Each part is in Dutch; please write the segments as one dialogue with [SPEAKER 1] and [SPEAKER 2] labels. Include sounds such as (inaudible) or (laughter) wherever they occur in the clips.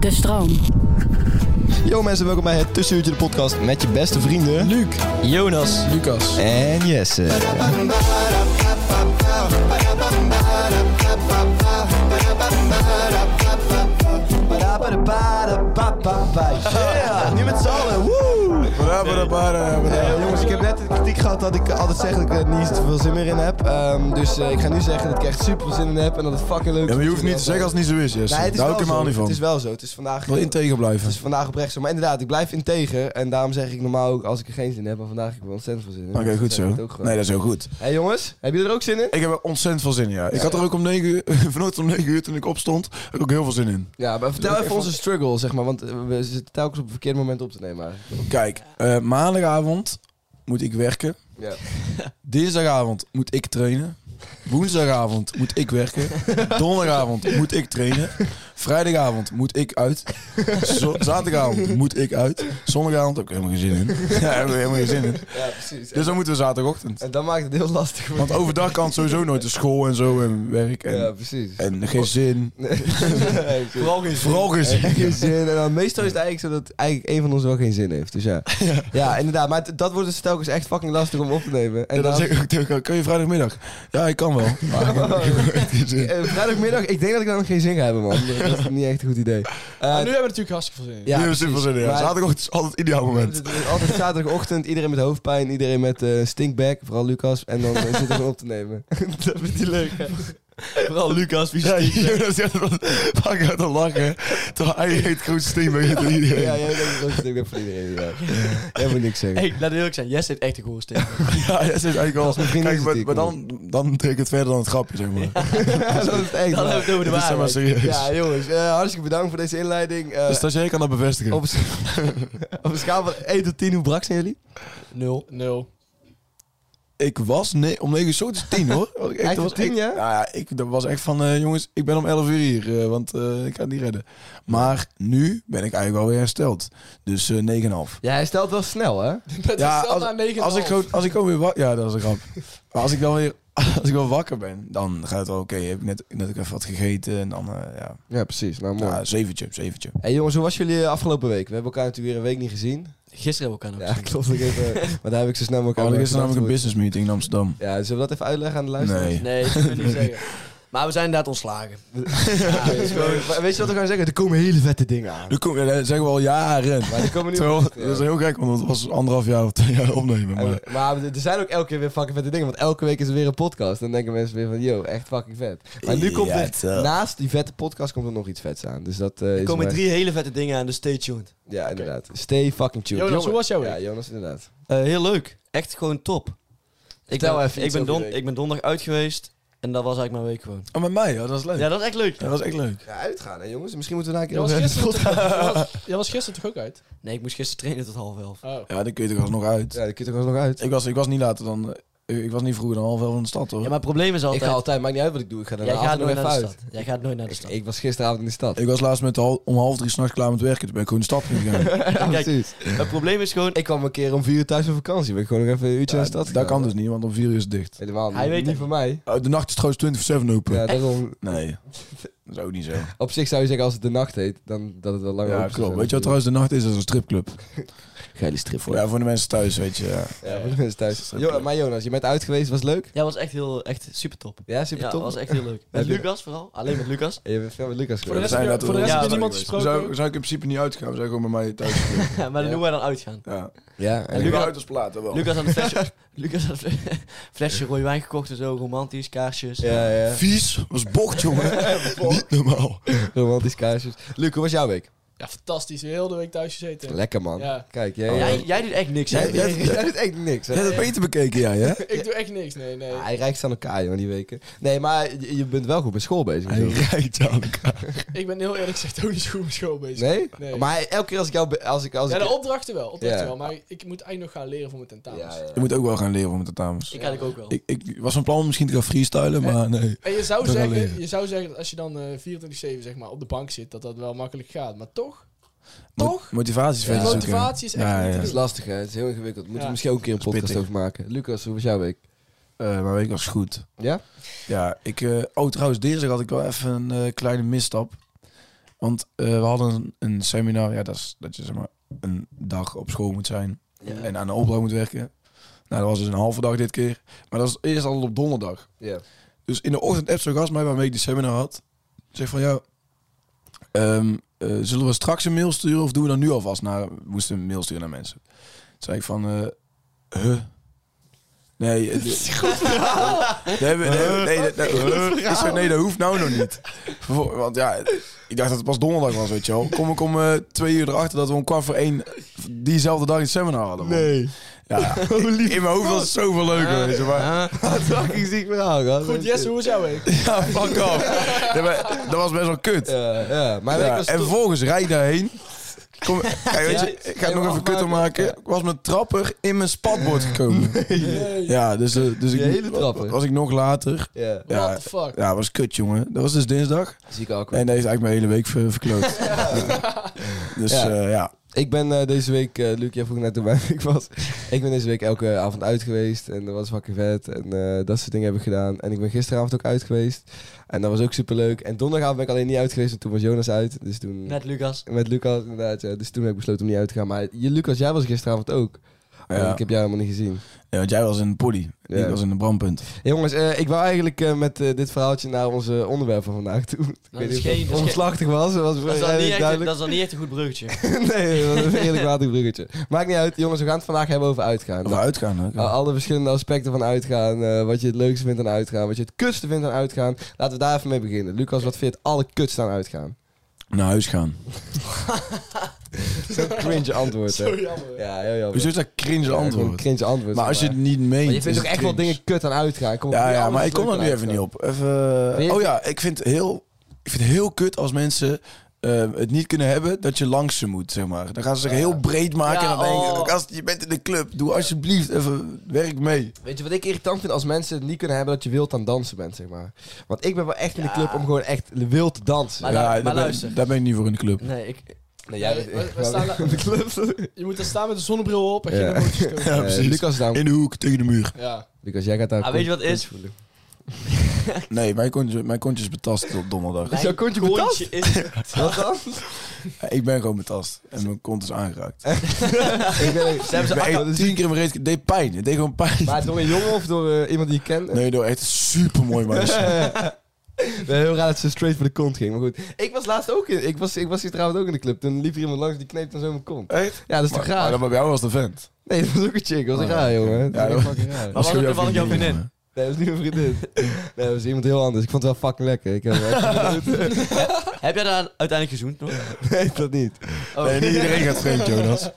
[SPEAKER 1] De stroom.
[SPEAKER 2] Yo mensen, welkom bij het Tussenuurtje de podcast met je beste vrienden... Luc, Jonas
[SPEAKER 3] Lucas.
[SPEAKER 2] en Jesse. Yeah, nu met z'n allen, woe! Eh, jongens, ik heb net de kritiek gehad dat ik altijd zeg dat ik er niet zoveel zin meer in heb. Ehm, dus eh, ik ga nu zeggen dat ik er echt super veel zin in heb en dat het fucking leuk is.
[SPEAKER 3] Ja, maar
[SPEAKER 2] om
[SPEAKER 3] je hoeft
[SPEAKER 2] te
[SPEAKER 3] niet
[SPEAKER 2] doen.
[SPEAKER 3] te zeggen als het niet zo is, Jesse.
[SPEAKER 2] Nee, het is
[SPEAKER 3] Daar
[SPEAKER 2] wel
[SPEAKER 3] hou ik helemaal
[SPEAKER 2] zo.
[SPEAKER 3] niet van.
[SPEAKER 2] Het is wel zo. Het is vandaag...
[SPEAKER 3] Ik wil integer blijven.
[SPEAKER 2] Het is vandaag oprecht zo. Maar inderdaad, ik blijf integer. En daarom zeg ik normaal ook als ik er geen zin in heb. Maar vandaag heb ik er ontzettend veel zin in.
[SPEAKER 3] Oké,
[SPEAKER 2] Dus
[SPEAKER 3] goed
[SPEAKER 2] dat
[SPEAKER 3] zo.
[SPEAKER 2] zeg ik ook
[SPEAKER 3] Nee,
[SPEAKER 2] gewoon.
[SPEAKER 3] dat is heel goed.
[SPEAKER 2] Hé jongens, hebben jullie er ook zin in?
[SPEAKER 3] Ik heb er ontzettend veel zin in, ja. Ik had er ook om 9 uur, (laughs) vanochtend om 9 uur toen ik opstond, had ik ook heel veel zin in.
[SPEAKER 2] Ja, maar vertel even onze struggle, zeg maar. Want eh, we zitten telkens op het verkeerde moment op te nemen eigenlijk.
[SPEAKER 3] Kijk, eh, maandagavond moet ik werken.
[SPEAKER 2] Ja.
[SPEAKER 3] Dinsdagavond moet ik trainen. Woensdagavond moet ik (laughs) werken. Donderdagavond moet ik trainen. Vrijdagavond moet ik uit. Zo- zaterdagavond moet ik uit. Zondagavond heb ik helemaal geen zin in. (laughs) Ja, daar heb ik helemaal geen zin in.
[SPEAKER 2] Ja, precies.
[SPEAKER 3] Dus dan moeten we zaterdagochtend.
[SPEAKER 2] En dat maakt het heel lastig. voor
[SPEAKER 3] Want
[SPEAKER 2] mij.
[SPEAKER 3] overdag kan het sowieso nooit de school en zo en werk en,
[SPEAKER 2] Ja, precies. (laughs)
[SPEAKER 3] en geen zin.
[SPEAKER 2] Vooral geen zin.
[SPEAKER 3] Vooral geen zin.
[SPEAKER 2] Geen zin. (laughs) En dan meestal is het eigenlijk zo dat eigenlijk een van ons wel geen zin heeft. Dus ja. Ja, inderdaad. Maar t- dat wordt dus telkens echt fucking lastig om op te nemen.
[SPEAKER 3] En dan
[SPEAKER 2] daarom- (laughs)
[SPEAKER 3] zeg ik ook tegen elkaar, kun je vrijdagmiddag? Ja, ik kan wel. Maar ik heb- ik heb echt geen zin.
[SPEAKER 2] Eh, vrijdagmiddag, ik denk dat ik dan nog geen zin ga hebben, man. Dat is niet echt een goed idee. Eh,
[SPEAKER 4] Maar nu hebben we natuurlijk hartstikke veel zin in.
[SPEAKER 2] ja,
[SPEAKER 3] Nu hebben we zin van zin in, ja.
[SPEAKER 2] Maar-
[SPEAKER 3] Zaterdagochtend is altijd het
[SPEAKER 2] (laughs)
[SPEAKER 3] ideaal moment.
[SPEAKER 2] Het is Altijd zaterdagochtend, iedereen met hoofdpijn, iedereen met eh stinkback, vooral Lucas. En dan eh, zitten we gewoon op te nemen.
[SPEAKER 4] Dat vindt hij leuk. hè? Vooral Lucas, wie
[SPEAKER 3] (laughs) Ja,
[SPEAKER 4] stiek.
[SPEAKER 3] Jonas die had er dan vaak uit te lachen. Terwijl hij het grootste team bij iedereen.
[SPEAKER 2] Ja, jij bent ook stinkback voor iedereen. Ja. Jij moet niks zeggen. (laughs)
[SPEAKER 4] Hey, laat het eerlijk zijn. Jess heeft echt een goede stem.
[SPEAKER 3] (laughs) Ja, dat is eigenlijk al.
[SPEAKER 2] Als mijn vriend
[SPEAKER 3] Kijk,
[SPEAKER 2] is
[SPEAKER 3] maar,
[SPEAKER 2] het
[SPEAKER 3] maar
[SPEAKER 2] ik,
[SPEAKER 3] dan, dan trek ik het verder dan het grapje, zeg maar.
[SPEAKER 2] dat is echt
[SPEAKER 4] Dan
[SPEAKER 2] waar.
[SPEAKER 4] hebben we het over
[SPEAKER 3] (laughs)
[SPEAKER 4] de
[SPEAKER 3] Dat is zeg maar
[SPEAKER 4] waarheid.
[SPEAKER 3] serieus.
[SPEAKER 2] Ja, jongens, eh, hartstikke bedankt voor deze inleiding. Eh,
[SPEAKER 3] de stagiair kan dat bevestigen.
[SPEAKER 2] op, een scha- (laughs) op een schaal van 1 tot 10, hoe brak zijn jullie?
[SPEAKER 4] Nul. Nul.
[SPEAKER 3] Ik was nee, om 9 uur zo, het is 10 hoor. Want Ik,
[SPEAKER 2] Echt
[SPEAKER 3] dat was
[SPEAKER 2] om 10,
[SPEAKER 3] echt-
[SPEAKER 2] ja?
[SPEAKER 3] Nou ja, ik dat was echt van, eh, jongens, ik ben om 11 uur hier, eh, want eh, ik ga het niet redden. Maar nu ben ik eigenlijk alweer hersteld. Dus eh 9,5.
[SPEAKER 2] Ja, hij stelt wel snel, hè?
[SPEAKER 4] Dat
[SPEAKER 3] Ja, als,
[SPEAKER 4] is zelfs aan 9,5.
[SPEAKER 3] als ik gewoon, als ik gewoon weer wakker... Ja, dat is een grap. Maar als ik dan weer... (laughs) Als ik wel wakker ben, dan gaat het wel oké. Heb ik net, net ook even wat gegeten en dan, eh, ja,
[SPEAKER 2] Ja, precies. Nou, mooi.
[SPEAKER 3] ja, zeventje, zeventje.
[SPEAKER 2] Hey jongens, hoe was jullie eh, afgelopen week? We hebben elkaar natuurlijk weer een week niet gezien.
[SPEAKER 4] Gisteren hebben we elkaar
[SPEAKER 2] Ja, (laughs)
[SPEAKER 4] nog
[SPEAKER 2] klopt. Ik heb, eh, maar daar heb ik zo snel mogelijk
[SPEAKER 3] Oh, er
[SPEAKER 2] aan
[SPEAKER 3] is
[SPEAKER 2] mijn
[SPEAKER 3] namelijk een
[SPEAKER 2] antwoord.
[SPEAKER 3] business meeting in Amsterdam.
[SPEAKER 2] Ja, zullen we dat even uitleggen aan de luisteraars?
[SPEAKER 3] Nee.
[SPEAKER 4] gezien. Nee, dat wil ik niet zeggen. Maar we zijn inderdaad ontslagen.
[SPEAKER 2] (laughs) Ja, het is gewoon- maar weet je wat we gaan zeggen? Er komen hele vette dingen aan.
[SPEAKER 3] Nu kom, ja, dat zeggen we al jaren.
[SPEAKER 2] Maar die komen nu...
[SPEAKER 3] Terwijl, dat
[SPEAKER 2] Ja.
[SPEAKER 3] is heel gek, want het was anderhalf jaar of twee jaar opnemen. Maar
[SPEAKER 2] En- maar er zijn ook elke keer weer fucking vette dingen. Want elke week is er weer een podcast. Dan denken mensen weer van, yo, echt fucking vet. Maar nu komt
[SPEAKER 3] Ja,
[SPEAKER 2] er,
[SPEAKER 3] zo.
[SPEAKER 2] naast die vette podcast komt er nog iets vets aan. Dus dat eh, is...
[SPEAKER 4] Er komen
[SPEAKER 2] maar-
[SPEAKER 4] drie hele vette dingen aan, dus stay tuned.
[SPEAKER 2] Ja, inderdaad. Stay fucking tuned.
[SPEAKER 4] Jonas,
[SPEAKER 2] Jongen-
[SPEAKER 4] hoe was jouw
[SPEAKER 2] Ja,
[SPEAKER 4] week?
[SPEAKER 2] Jonas, inderdaad.
[SPEAKER 4] Eh, heel leuk. Echt gewoon top. Ik
[SPEAKER 2] Vertel
[SPEAKER 4] ben,
[SPEAKER 2] even
[SPEAKER 4] ik
[SPEAKER 2] iets
[SPEAKER 4] ben,
[SPEAKER 2] over je
[SPEAKER 4] don-
[SPEAKER 2] week.
[SPEAKER 4] ik ben donderdag uit geweest en dat was eigenlijk mijn week gewoon.
[SPEAKER 3] Oh, met mij, ja, dat is leuk.
[SPEAKER 4] Ja, dat is echt leuk.
[SPEAKER 3] dat was echt leuk.
[SPEAKER 2] Ja, uitgaan hè jongens. Misschien moeten we daar een
[SPEAKER 5] Jij
[SPEAKER 2] keer
[SPEAKER 5] was,
[SPEAKER 2] over
[SPEAKER 5] gisteren
[SPEAKER 2] hebben.
[SPEAKER 5] toch, jij was-
[SPEAKER 2] (laughs)
[SPEAKER 5] jij was gisteren toch ook uit?
[SPEAKER 4] Nee, ik moest gisteren trainen tot half elf.
[SPEAKER 5] Oh.
[SPEAKER 3] Ja, dan kun je toch alsnog uit.
[SPEAKER 2] Ja, dat kun je toch nog uit.
[SPEAKER 3] Ik, was, ik was niet later dan... eh, Ik was niet vroeger dan half elf in de stad, hoor.
[SPEAKER 4] Ja, maar het probleem is altijd...
[SPEAKER 2] Ik ga altijd, maakt niet uit wat ik doe. Ik ga daar
[SPEAKER 4] jij gaat
[SPEAKER 2] avond nog
[SPEAKER 4] nooit
[SPEAKER 2] even
[SPEAKER 4] naar de
[SPEAKER 2] uit.
[SPEAKER 4] stad. Jij gaat nooit naar de stad.
[SPEAKER 2] Ik was gisteravond in de stad.
[SPEAKER 3] Ik was laatst met hal- om half drie s'nachts klaar met werken. Toen ben ik gewoon de stad ingegaan.
[SPEAKER 2] Ja,
[SPEAKER 4] Kijk,
[SPEAKER 2] precies.
[SPEAKER 4] Het probleem is gewoon...
[SPEAKER 2] Ik kwam een keer om vier uur thuis van vakantie. Ben ik gewoon nog even een uurtje naar de stad
[SPEAKER 3] dat dat kan
[SPEAKER 2] gegaan.
[SPEAKER 3] dus niet, want om vier uur is het dicht.
[SPEAKER 2] Helemaal niet.
[SPEAKER 4] Hij weet
[SPEAKER 2] niet
[SPEAKER 4] het.
[SPEAKER 2] van mij.
[SPEAKER 3] Eh, de nacht is trouwens 24-7 open.
[SPEAKER 2] Ja, daarom...
[SPEAKER 3] Nee. Dat is ook niet zo. Ja,
[SPEAKER 2] Op zich zou je zeggen, als het de nacht heet, dan dat het wel langer open zou
[SPEAKER 3] klopt.
[SPEAKER 2] zijn
[SPEAKER 3] Weet je wat trouwens de nacht is? Dat is een stripclub.
[SPEAKER 2] natuurlijk. Geile strip
[SPEAKER 3] Voor,
[SPEAKER 2] voor
[SPEAKER 3] ja, voor de mensen thuis, weet je. ja.
[SPEAKER 2] Ja, voor de mensen thuis. Jo, maar Jonas, je bent uit geweest, was het leuk?
[SPEAKER 4] Ja, was echt heel, echt super top.
[SPEAKER 2] Ja, super
[SPEAKER 4] ja,
[SPEAKER 2] top.
[SPEAKER 4] was echt heel leuk.
[SPEAKER 2] Heb
[SPEAKER 4] Met
[SPEAKER 2] je-
[SPEAKER 4] Lucas vooral. Alleen met
[SPEAKER 2] (laughs)
[SPEAKER 4] Lucas.
[SPEAKER 2] En je bent veel met Lucas
[SPEAKER 5] Voor de
[SPEAKER 2] geweest.
[SPEAKER 5] rest,
[SPEAKER 3] zijn
[SPEAKER 5] heb
[SPEAKER 3] dat
[SPEAKER 5] je- voor de rest
[SPEAKER 4] Ja,
[SPEAKER 5] heb je
[SPEAKER 4] dat
[SPEAKER 5] niemand
[SPEAKER 3] We
[SPEAKER 5] gesproken.
[SPEAKER 3] Zou, zou ik in principe niet uitgaan, we zijn gewoon bij mij thuis.
[SPEAKER 4] Ja, maar dan doen wij dan uitgaan.
[SPEAKER 3] Ja.
[SPEAKER 2] Ja,
[SPEAKER 3] En
[SPEAKER 2] en
[SPEAKER 3] nu
[SPEAKER 4] Lucas-
[SPEAKER 3] uit als plaat, hè, wel.
[SPEAKER 4] Lucas had een flesje, Lucas had een fle- (laughs) flesje rode wijn gekocht en zo. Romantisch, kaarsjes.
[SPEAKER 2] ja, ja.
[SPEAKER 3] Vies was bocht, jongen. niet normaal.
[SPEAKER 2] Romantisch kaarsjes. Luc, hoe was jouw week?
[SPEAKER 5] Ja, fantastisch. Heel de week thuis gezeten.
[SPEAKER 2] Lekker, man.
[SPEAKER 5] Ja.
[SPEAKER 2] Kijk, jij...
[SPEAKER 4] Jij, jij doet echt niks, hè?
[SPEAKER 2] Jij, jij, jij doet echt niks, hè?
[SPEAKER 3] Jij hebt het beter bekeken, jij, hè?
[SPEAKER 5] Ik doe echt niks. Nee, nee.
[SPEAKER 2] Ah, hij rijkt aan elkaar, jongen, die weken. Nee, maar je, je bent wel goed met school bezig.
[SPEAKER 3] Hij
[SPEAKER 2] natuurlijk.
[SPEAKER 3] rijdt aan elkaar.
[SPEAKER 5] Ik ben heel eerlijk (laughs) gezegd ook niet zo goed met school bezig.
[SPEAKER 2] (laughs) Nee?
[SPEAKER 5] Nee.
[SPEAKER 2] Maar hij- elke keer als ik jou... be- Als ik, als
[SPEAKER 5] Ja,
[SPEAKER 2] ik,
[SPEAKER 5] de opdrachten wel. Opdrachten
[SPEAKER 2] Ja.
[SPEAKER 5] wel. Maar ik moet eigenlijk nog gaan leren voor mijn tentamens.
[SPEAKER 2] Ja, ja.
[SPEAKER 3] Je moet ook wel gaan leren om de dames.
[SPEAKER 4] Ik eigenlijk ook wel.
[SPEAKER 3] Ik, ik was van plan om misschien te gaan freestylen, maar nee.
[SPEAKER 5] En je zou,
[SPEAKER 3] Nog gaan
[SPEAKER 5] zeggen,
[SPEAKER 3] leren.
[SPEAKER 5] je zou zeggen dat als je dan eh, 24-7 zeg maar, op de bank zit, dat dat wel makkelijk gaat. Maar toch,
[SPEAKER 3] Mo-
[SPEAKER 5] toch?
[SPEAKER 3] Motivatie is
[SPEAKER 2] Ja.
[SPEAKER 3] verder zoeken.
[SPEAKER 5] Motivatie is echt
[SPEAKER 3] Ja,
[SPEAKER 5] niet te
[SPEAKER 3] ja.
[SPEAKER 2] Dat is lastig, hè? Het is heel ingewikkeld. Moeten
[SPEAKER 5] Ja.
[SPEAKER 2] we misschien ook een keer een
[SPEAKER 3] Dat is
[SPEAKER 2] podcast
[SPEAKER 3] pittig.
[SPEAKER 2] over maken. Lucas, hoe was jouw week?
[SPEAKER 3] Eh, mijn week was goed.
[SPEAKER 2] Ja?
[SPEAKER 3] Ja, ik... eh, oh, trouwens, dinsdag had ik wel even een eh, kleine misstap. Want eh, we hadden een, een seminar. Ja, dat is dat je zeg maar een dag op school moet zijn. En aan de opdracht moet werken. Nou, dat was dus een halve dag dit keer. Maar dat is eerst altijd op donderdag.
[SPEAKER 2] Ja.
[SPEAKER 3] Dus in de ochtend app zo'n gast mij waarmee ik die seminar had. Zeg van ja, ehm, eh, zullen we straks een mail sturen of doen we dan nu alvast naar, we moesten een mail sturen naar mensen. Toen zei ik van, eh, huh? Nee, eh, dit- Nee, we- nee, we- nee, dat- dat- ik zei, nee, dat hoeft nou nog niet. Vervol- Want ja, ik dacht dat het pas donderdag was, weet je wel. Kom ik om eh, twee uur erachter dat we om kwart voor één diezelfde dag een seminar hadden. man. Ja, in mijn hoofd was het zoveel leuker, weet je. Maar
[SPEAKER 2] Ah, (laughs) Fucking ziek verhaal, gast.
[SPEAKER 5] Goed, Jesse, hoe was jouw week?
[SPEAKER 2] (laughs)
[SPEAKER 3] Ja, fuck off. Ja, maar dat was best wel kut.
[SPEAKER 2] Ja, ja. Mijn
[SPEAKER 3] Ja,
[SPEAKER 2] week was
[SPEAKER 3] en
[SPEAKER 2] top.
[SPEAKER 3] vervolgens rijd ik daarheen.
[SPEAKER 2] (laughs)
[SPEAKER 3] Kom, kijk, weet je, ik ga het
[SPEAKER 2] Helemaal
[SPEAKER 3] nog even kut om
[SPEAKER 2] afmaken.
[SPEAKER 3] maken. Ik was met trapper in mijn spatbord gekomen.
[SPEAKER 2] (laughs)
[SPEAKER 3] Ja, dus, eh, dus ik,
[SPEAKER 2] hele trapper.
[SPEAKER 3] was ik nog later.
[SPEAKER 2] Ja.
[SPEAKER 3] Ja,
[SPEAKER 5] What the fuck?
[SPEAKER 3] ja, was kut, jongen. Dat was dus dinsdag.
[SPEAKER 2] Ziek awkward.
[SPEAKER 3] En dat heeft eigenlijk mijn hele week ver-
[SPEAKER 2] (laughs)
[SPEAKER 3] verkloot. Dus
[SPEAKER 2] Ja.
[SPEAKER 3] eh, ja.
[SPEAKER 2] Ik ben eh, deze week, eh Luc, jij vroeg net hoe mijn week was. (laughs) ik ben deze week elke avond uit geweest en dat was fucking vet. En eh, dat soort dingen heb ik gedaan. En ik ben gisteravond ook uit geweest. En dat was ook super leuk. En donderdagavond ben ik alleen niet uit geweest, want toen was Jonas uit. Dus toen...
[SPEAKER 4] Met Lucas.
[SPEAKER 2] Met Lucas, inderdaad. ja. Dus toen heb ik besloten om niet uit te gaan. Maar je, Lucas, jij was gisteravond ook. En
[SPEAKER 3] Ja.
[SPEAKER 2] ik heb jou helemaal niet gezien.
[SPEAKER 3] Ja, want jij was in de poddy.
[SPEAKER 2] Ja.
[SPEAKER 3] Ik was in de brandpunt.
[SPEAKER 2] Hey, jongens, eh, ik wou eigenlijk eh, met eh, dit verhaaltje naar onze onderwerp van vandaag toe. Ik
[SPEAKER 4] dat is
[SPEAKER 2] weet
[SPEAKER 4] geen-
[SPEAKER 2] niet
[SPEAKER 4] dat
[SPEAKER 2] of
[SPEAKER 4] is
[SPEAKER 2] het omslachtig was. Dat was
[SPEAKER 4] Dat is, dan
[SPEAKER 2] vrij
[SPEAKER 4] niet echt,
[SPEAKER 2] duidelijk.
[SPEAKER 4] dat is dan niet echt een goed bruggetje.
[SPEAKER 2] (laughs) nee, dat was een eerlijk water bruggetje. Maakt niet uit, jongens. We gaan het vandaag hebben over uitgaan.
[SPEAKER 3] Of uitgaan. Hè?
[SPEAKER 2] Nou, alle verschillende aspecten van uitgaan. eh, wat je het leukste vindt aan uitgaan. Wat je het kutste vindt aan uitgaan. Laten we daar even mee beginnen. Lucas, wat vind je het allerkutste aan uitgaan?
[SPEAKER 3] Naar huis gaan.
[SPEAKER 2] Zo'n cringe antwoord, hè?
[SPEAKER 5] Zo jammer.
[SPEAKER 2] Ja, heel jammer.
[SPEAKER 3] Hoezo is dat cringe
[SPEAKER 2] Een
[SPEAKER 3] antwoord?
[SPEAKER 2] cringe antwoord.
[SPEAKER 3] Maar als je het niet meent.
[SPEAKER 2] Maar je
[SPEAKER 3] is
[SPEAKER 2] vindt ook
[SPEAKER 3] het
[SPEAKER 2] echt wel
[SPEAKER 3] cringe.
[SPEAKER 2] dingen kut aan uitgaan. Kom op,
[SPEAKER 3] Ja,
[SPEAKER 2] niet
[SPEAKER 3] ja
[SPEAKER 2] alles
[SPEAKER 3] maar
[SPEAKER 2] is
[SPEAKER 3] ik kom
[SPEAKER 2] leuk
[SPEAKER 3] er
[SPEAKER 2] aan
[SPEAKER 3] nu even niet
[SPEAKER 2] uitgaan.
[SPEAKER 3] op.
[SPEAKER 4] eh.
[SPEAKER 3] Even,
[SPEAKER 2] Nee,
[SPEAKER 3] oh ja, ik vind, heel, ik vind het heel kut als mensen eh, het niet kunnen hebben dat je langs ze moet, zeg maar. Dan gaan ze zich heel breed maken
[SPEAKER 4] Ja,
[SPEAKER 3] en dan denken
[SPEAKER 4] oh.
[SPEAKER 3] ik, gast, je bent in de club, doe alsjeblieft even, werk mee.
[SPEAKER 2] Weet je wat ik irritant vind als mensen het niet kunnen hebben dat je wild aan het dansen bent, zeg maar. Want ik ben wel echt in de club om gewoon echt wild te dansen.
[SPEAKER 4] Maar
[SPEAKER 3] ja,
[SPEAKER 4] lu- maar
[SPEAKER 3] daar,
[SPEAKER 4] luister.
[SPEAKER 3] ben, daar ben ik niet voor in de club.
[SPEAKER 4] Nee, ik,
[SPEAKER 2] nee, jij
[SPEAKER 5] Nee,
[SPEAKER 2] bent
[SPEAKER 5] we- we
[SPEAKER 2] (laughs)
[SPEAKER 5] staan daar-
[SPEAKER 2] in de club.
[SPEAKER 5] Je moet daar staan met een zonnebril op en geen
[SPEAKER 2] Ja.
[SPEAKER 5] emoties
[SPEAKER 3] (laughs)
[SPEAKER 5] tonen.
[SPEAKER 3] Ja,
[SPEAKER 2] Eh,
[SPEAKER 3] precies.
[SPEAKER 2] Lucas, is daar-
[SPEAKER 3] In de hoek, tegen de
[SPEAKER 4] (laughs)
[SPEAKER 3] muur.
[SPEAKER 5] Ja.
[SPEAKER 2] Lucas, jij gaat daar...
[SPEAKER 4] Ah, weet je wat het is?
[SPEAKER 2] voelen. (laughs)
[SPEAKER 3] Nee, mijn kontje, mijn kontje is betast op donderdag.
[SPEAKER 2] jouw kontje
[SPEAKER 4] kontje is... (laughs)
[SPEAKER 2] Wat dan?
[SPEAKER 3] Ik ben gewoon betast en mijn kont is aangeraakt.
[SPEAKER 2] ik ben,
[SPEAKER 4] Ze hebben
[SPEAKER 3] Ik
[SPEAKER 4] ze
[SPEAKER 3] ben
[SPEAKER 4] achter-
[SPEAKER 3] echt tien keer in mijn reet, het deed pijn, het deed gewoon pijn.
[SPEAKER 2] maar door een jongen of door eh, iemand die je kent?
[SPEAKER 3] Nee, door echt super
[SPEAKER 4] (laughs)
[SPEAKER 3] mooi meisje.
[SPEAKER 2] dus- Ik ben heel raar dat ze straight voor de kont ging, maar goed. Ik was laatst ook in... Ik was, ik was gisteravond ook in de club. Toen liep er iemand langs die kneep dan zo mijn kont.
[SPEAKER 3] Echt?
[SPEAKER 2] Ja, dat is
[SPEAKER 3] Maar,
[SPEAKER 2] toch
[SPEAKER 3] maar
[SPEAKER 2] raar?
[SPEAKER 3] dat bij jou was de vent.
[SPEAKER 2] Nee, dat was ook een chick. Dat was
[SPEAKER 3] Oh,
[SPEAKER 2] raar, jongen.
[SPEAKER 3] Ja,
[SPEAKER 2] Dat was
[SPEAKER 3] dat-
[SPEAKER 2] fucking raar.
[SPEAKER 4] was
[SPEAKER 3] gewoon
[SPEAKER 4] het toevallig jouw vriendin?
[SPEAKER 3] jongen.
[SPEAKER 2] Nee, dat is niet mijn vriendin. Nee, dat was iemand heel anders. Ik vond het wel fucking lekker. Ik heb wel echt (laughs) genoten.
[SPEAKER 4] Heb jij daar uiteindelijk gezoend nog?
[SPEAKER 2] Nee, dat niet.
[SPEAKER 4] Oh.
[SPEAKER 3] Nee, niet iedereen gaat
[SPEAKER 2] (laughs)
[SPEAKER 3] vreemd, Jonas.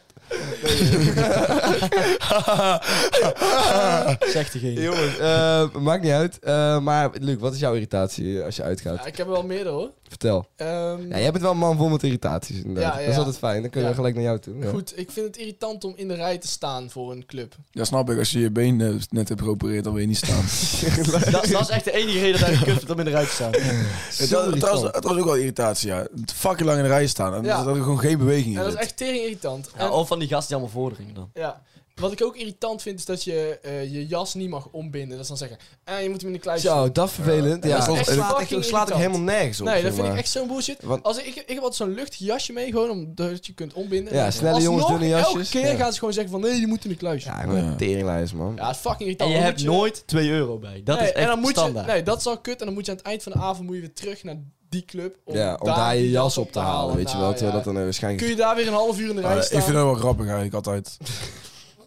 [SPEAKER 4] Zegt degene.
[SPEAKER 2] Jongens, eh, maakt niet uit. Eh, maar Luc, wat is jouw irritatie als je uitgaat?
[SPEAKER 5] Ja, ik heb er wel meerdere hoor.
[SPEAKER 2] Vertel.
[SPEAKER 5] Ehm,
[SPEAKER 2] Ja, jij bent wel een man vol met irritaties inderdaad.
[SPEAKER 5] Ja, ja,
[SPEAKER 2] Dat is
[SPEAKER 5] ja.
[SPEAKER 2] altijd fijn. Dan kunnen we
[SPEAKER 5] Ja.
[SPEAKER 2] gelijk naar jou toe. Ja.
[SPEAKER 5] Goed, ik vind het irritant om in de rij te staan voor een club.
[SPEAKER 3] Ja, snap ik. Als je je been eh, net hebt geopereerd, dan wil je
[SPEAKER 2] (laughs)
[SPEAKER 3] niet staan.
[SPEAKER 4] Dat, dat is echt de enige reden dat hij gekut vindt om in de rij te staan.
[SPEAKER 3] het, was, het, was, het was ook wel irritatie, ja. Het Fucking lang in de rij staan. En
[SPEAKER 5] Ja.
[SPEAKER 3] Dat er gewoon geen beweging in
[SPEAKER 5] En dat is
[SPEAKER 3] zit.
[SPEAKER 5] echt tering irritant.
[SPEAKER 4] Ja,
[SPEAKER 5] En-
[SPEAKER 4] of van die gasten die allemaal vorderingen dan.
[SPEAKER 5] ja. Wat ik ook irritant vind, is dat je eh, je jas niet mag ombinden. Dat is dan zeggen, eh, je moet hem in de kluis
[SPEAKER 2] Zo, dat vervelend. Ja,
[SPEAKER 5] Ja,
[SPEAKER 2] dat
[SPEAKER 5] dat is echt
[SPEAKER 2] slaat,
[SPEAKER 5] fucking
[SPEAKER 2] ik, slaat ik
[SPEAKER 5] irritant.
[SPEAKER 2] helemaal nergens op.
[SPEAKER 5] Nee, dat
[SPEAKER 2] zeg
[SPEAKER 5] vind ik
[SPEAKER 2] maar.
[SPEAKER 5] echt zo'n bullshit.
[SPEAKER 2] Want-
[SPEAKER 5] Als ik, ik, ik heb altijd zo'n luchtig jasje mee, gewoon omdat je kunt ombinden.
[SPEAKER 2] Ja, snelle jongens,
[SPEAKER 5] Alsnog,
[SPEAKER 2] dunne jasjes.
[SPEAKER 5] elke keer
[SPEAKER 2] Ja.
[SPEAKER 5] gaan ze gewoon zeggen van, nee, je moet in de kluis. Ja,
[SPEAKER 2] Ja, ik ben een teringlijst, man.
[SPEAKER 5] het is fucking
[SPEAKER 4] En
[SPEAKER 5] irritant.
[SPEAKER 4] je
[SPEAKER 5] Dan
[SPEAKER 4] hebt
[SPEAKER 5] moet
[SPEAKER 4] nooit 2 euro bij. Dat
[SPEAKER 5] Nee,
[SPEAKER 4] is echt
[SPEAKER 5] en dan moet
[SPEAKER 4] standaard.
[SPEAKER 5] Je, nee, dat is al kut. En dan moet je aan het eind van de avond moet je weer terug naar die club.
[SPEAKER 2] ja, om daar je
[SPEAKER 5] die
[SPEAKER 2] jas op te halen, weet je wel.
[SPEAKER 5] Nou,
[SPEAKER 2] Terwijl
[SPEAKER 5] ja.
[SPEAKER 2] dat dan Oh, eh, waarschijnlijk...
[SPEAKER 5] Kun je daar weer een half uur in de
[SPEAKER 3] Maar,
[SPEAKER 5] rij
[SPEAKER 3] eh,
[SPEAKER 5] staan?
[SPEAKER 3] ik vind dat wel grappig eigenlijk altijd.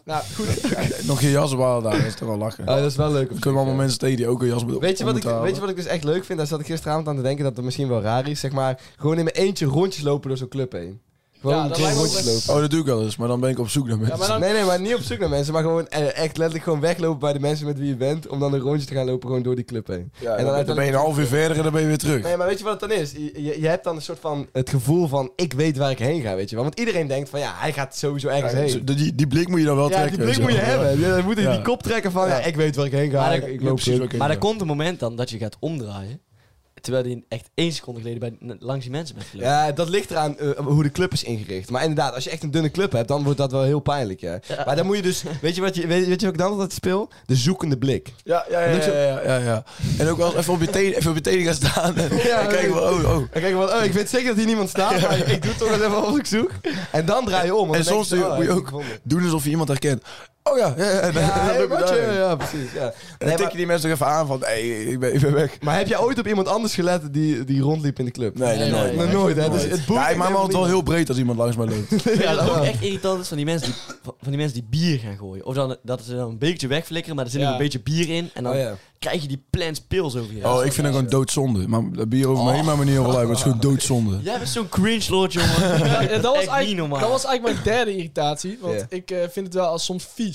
[SPEAKER 5] Nou,
[SPEAKER 2] (laughs)
[SPEAKER 5] goed.
[SPEAKER 3] Nog je jas ophalen daar, dat is toch wel lachen.
[SPEAKER 2] Oh, dat is wel leuk.
[SPEAKER 3] Dan kunnen we allemaal mensen tegen die ook een jas moeten
[SPEAKER 2] Weet je, wat ik,
[SPEAKER 3] moeten halen.
[SPEAKER 2] weet je wat ik dus echt leuk vind? Daar zat ik gisteravond aan te denken dat het misschien wel raar is. Zeg maar, gewoon in mijn eentje rondjes lopen door zo'n club heen. Gewoon
[SPEAKER 5] Ja, dat lijkt me
[SPEAKER 2] rondjes
[SPEAKER 5] wel-
[SPEAKER 2] lopen.
[SPEAKER 3] Oh, dat doe ik wel eens, maar dan ben ik op zoek naar mensen.
[SPEAKER 5] maar dan-
[SPEAKER 2] Nee, nee, maar niet op zoek naar mensen, maar gewoon eh, echt letterlijk gewoon weglopen bij de mensen met wie je bent. Om dan een rondje te gaan lopen gewoon door die club heen.
[SPEAKER 3] Ja,
[SPEAKER 2] en
[SPEAKER 3] en
[SPEAKER 2] dan
[SPEAKER 3] dan, ben je een half uur verder en dan ben je weer terug.
[SPEAKER 2] Nee, maar weet je wat het dan is? Je, je, je hebt dan een soort van het gevoel van ik weet waar ik heen ga, weet je wel. Want iedereen denkt van ja, hij gaat sowieso ergens
[SPEAKER 3] Ja,
[SPEAKER 2] heen.
[SPEAKER 3] zo- die, die blik moet je dan wel
[SPEAKER 2] Ja,
[SPEAKER 3] trekken.
[SPEAKER 2] die blik
[SPEAKER 3] weet
[SPEAKER 2] moet je
[SPEAKER 3] wel.
[SPEAKER 2] hebben. Ja, dan moet je
[SPEAKER 3] Ja.
[SPEAKER 2] die kop trekken van ja, ik weet waar ik heen ga.
[SPEAKER 4] Maar
[SPEAKER 2] ik,
[SPEAKER 4] dat-
[SPEAKER 2] ik
[SPEAKER 3] Ja,
[SPEAKER 2] loop
[SPEAKER 3] precies
[SPEAKER 2] terug.
[SPEAKER 3] waar ik heen
[SPEAKER 4] Maar er
[SPEAKER 3] wil.
[SPEAKER 4] komt een moment dan dat je gaat omdraaien. Terwijl je echt één seconde geleden bij, langs die mensen bent gelopen.
[SPEAKER 2] Ja, dat ligt eraan eh, hoe de club is ingericht. Maar inderdaad, als je echt een dunne club hebt, dan wordt dat wel heel pijnlijk. Hè?
[SPEAKER 4] Ja.
[SPEAKER 2] Maar dan moet je dus. Weet je, wat je, weet, weet je wat ik dan altijd speel? De zoekende blik.
[SPEAKER 3] Ja, ja, ja. ja, ja, ja, ja. En ook wel eens even op je tenen, even op je tenen gaan staan. En
[SPEAKER 2] Ja,
[SPEAKER 3] (laughs) kijken van, oh, oh.
[SPEAKER 2] En kijk, want, oh, ik weet zeker dat hier niemand staat, maar ik, ik doe toch eens even alsof ik zoek. En dan draai je om. want
[SPEAKER 3] En
[SPEAKER 2] dan
[SPEAKER 3] soms
[SPEAKER 2] denk
[SPEAKER 3] doe je-
[SPEAKER 2] oh,
[SPEAKER 3] moet je
[SPEAKER 2] ik heb
[SPEAKER 3] Doen alsof je iemand herkent. Oh ja, ja, ja. En (laughs)
[SPEAKER 2] hem gevonden. (laughs) Ja, hey,
[SPEAKER 3] dan- dan loop je
[SPEAKER 2] maatje,
[SPEAKER 3] daarheen.
[SPEAKER 2] ja, precies. Ja.
[SPEAKER 3] En
[SPEAKER 2] Nee,
[SPEAKER 3] dan
[SPEAKER 2] maar,
[SPEAKER 3] tik je die mensen toch even aan van, hey, ik ben, ik ben weg.
[SPEAKER 2] maar heb je ooit op iemand anders gelet die, die rondliep in de club?
[SPEAKER 3] Nee, nee,
[SPEAKER 5] Nee,
[SPEAKER 3] nee.
[SPEAKER 5] nee,
[SPEAKER 2] Nog nooit, hè? Dus het boeit
[SPEAKER 3] ja, ik
[SPEAKER 2] echt
[SPEAKER 3] maak me altijd wel
[SPEAKER 2] helemaal
[SPEAKER 3] heel breed als iemand langs mij loopt.
[SPEAKER 2] niet.
[SPEAKER 4] Weet je
[SPEAKER 2] Ja,
[SPEAKER 4] wat
[SPEAKER 2] dat
[SPEAKER 4] ook
[SPEAKER 2] wel.
[SPEAKER 4] echt irritant is van die mensen die, van die, mensen die bier gaan gooien. Of dan, dat ze dan een beetje wegflikkeren, maar er zit nog
[SPEAKER 5] Ja.
[SPEAKER 4] een beetje bier in. En dan
[SPEAKER 2] Oh, ja.
[SPEAKER 4] krijg je die plans pils over je.
[SPEAKER 3] oh, ik vind dat gewoon doodzonde. Maar dat bier over me
[SPEAKER 2] Oh.
[SPEAKER 3] heen maakt me niet heel veel uit, maar het
[SPEAKER 2] (laughs)
[SPEAKER 3] is gewoon doodzonde.
[SPEAKER 4] Jij bent zo'n cringe lord, jongen.
[SPEAKER 5] Ja, dat, was
[SPEAKER 4] Echt niet
[SPEAKER 5] eigenlijk,
[SPEAKER 4] normaal.
[SPEAKER 5] dat was eigenlijk mijn derde irritatie. Want
[SPEAKER 2] Ja.
[SPEAKER 5] ik eh, vind het wel als soms vies.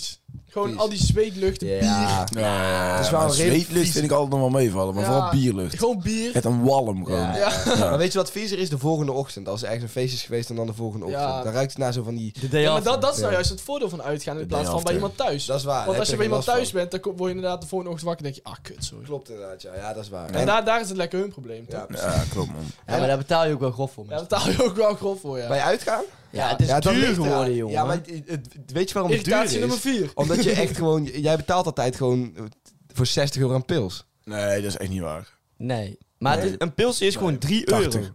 [SPEAKER 5] Gewoon
[SPEAKER 2] Vies.
[SPEAKER 5] al die zweetlucht,
[SPEAKER 2] Ja.
[SPEAKER 3] Ja, ja, ja.
[SPEAKER 2] Het is wel
[SPEAKER 3] maar
[SPEAKER 2] een redelijk
[SPEAKER 3] zweetlucht vind ik altijd nog wel meevallen, maar
[SPEAKER 5] Ja.
[SPEAKER 3] vooral bierlucht.
[SPEAKER 5] bier. Gewoon bier.
[SPEAKER 3] Echt een walm gewoon.
[SPEAKER 2] Ja,
[SPEAKER 5] Ja.
[SPEAKER 3] Ja.
[SPEAKER 2] Maar weet je wat viezer is? De volgende ochtend. Als er ergens een feest is geweest en dan de volgende
[SPEAKER 5] Ja.
[SPEAKER 2] ochtend. Dan ruikt het naar zo van die...
[SPEAKER 4] De day
[SPEAKER 5] Ja, maar
[SPEAKER 4] after.
[SPEAKER 5] dat, dat is nou
[SPEAKER 2] Ja.
[SPEAKER 5] juist het voordeel van uitgaan in
[SPEAKER 3] De
[SPEAKER 5] plaats
[SPEAKER 3] day
[SPEAKER 5] van bij
[SPEAKER 3] after.
[SPEAKER 5] iemand thuis.
[SPEAKER 2] Dus Dat is waar.
[SPEAKER 5] Want
[SPEAKER 2] daar
[SPEAKER 5] als je
[SPEAKER 2] heb
[SPEAKER 5] bij
[SPEAKER 2] geen
[SPEAKER 5] iemand
[SPEAKER 2] last
[SPEAKER 5] thuis
[SPEAKER 2] van.
[SPEAKER 5] bent, dan kom- word je inderdaad de volgende ochtend wakker en denk je, ah kut, sorry.
[SPEAKER 2] Klopt inderdaad, ja. Ja, dat is waar.
[SPEAKER 5] En daar, daar is het lekker hun probleem.
[SPEAKER 2] Ja.
[SPEAKER 5] Ja.
[SPEAKER 3] Ja, klopt man.
[SPEAKER 4] Ja, maar daar betaal je ook wel grof voor,
[SPEAKER 5] ja, daar
[SPEAKER 4] mensen.
[SPEAKER 5] betaal je ook wel grof voor, ja.
[SPEAKER 2] Bij uitgaan?
[SPEAKER 4] Ja, het is
[SPEAKER 2] dat
[SPEAKER 4] duur
[SPEAKER 2] ligt eraan.
[SPEAKER 4] geworden, jongen.
[SPEAKER 2] Ja, maar het- het- weet je waarom het duur is?
[SPEAKER 5] Irritatie nummer 4.
[SPEAKER 2] (laughs) Omdat je echt gewoon... Jij betaalt altijd gewoon eh, voor 60 euro aan pils.
[SPEAKER 3] Nee, dat is echt niet waar.
[SPEAKER 4] Nee. Maar het
[SPEAKER 2] Nee.
[SPEAKER 4] is, een pils is gewoon 3
[SPEAKER 3] 80.
[SPEAKER 4] euro.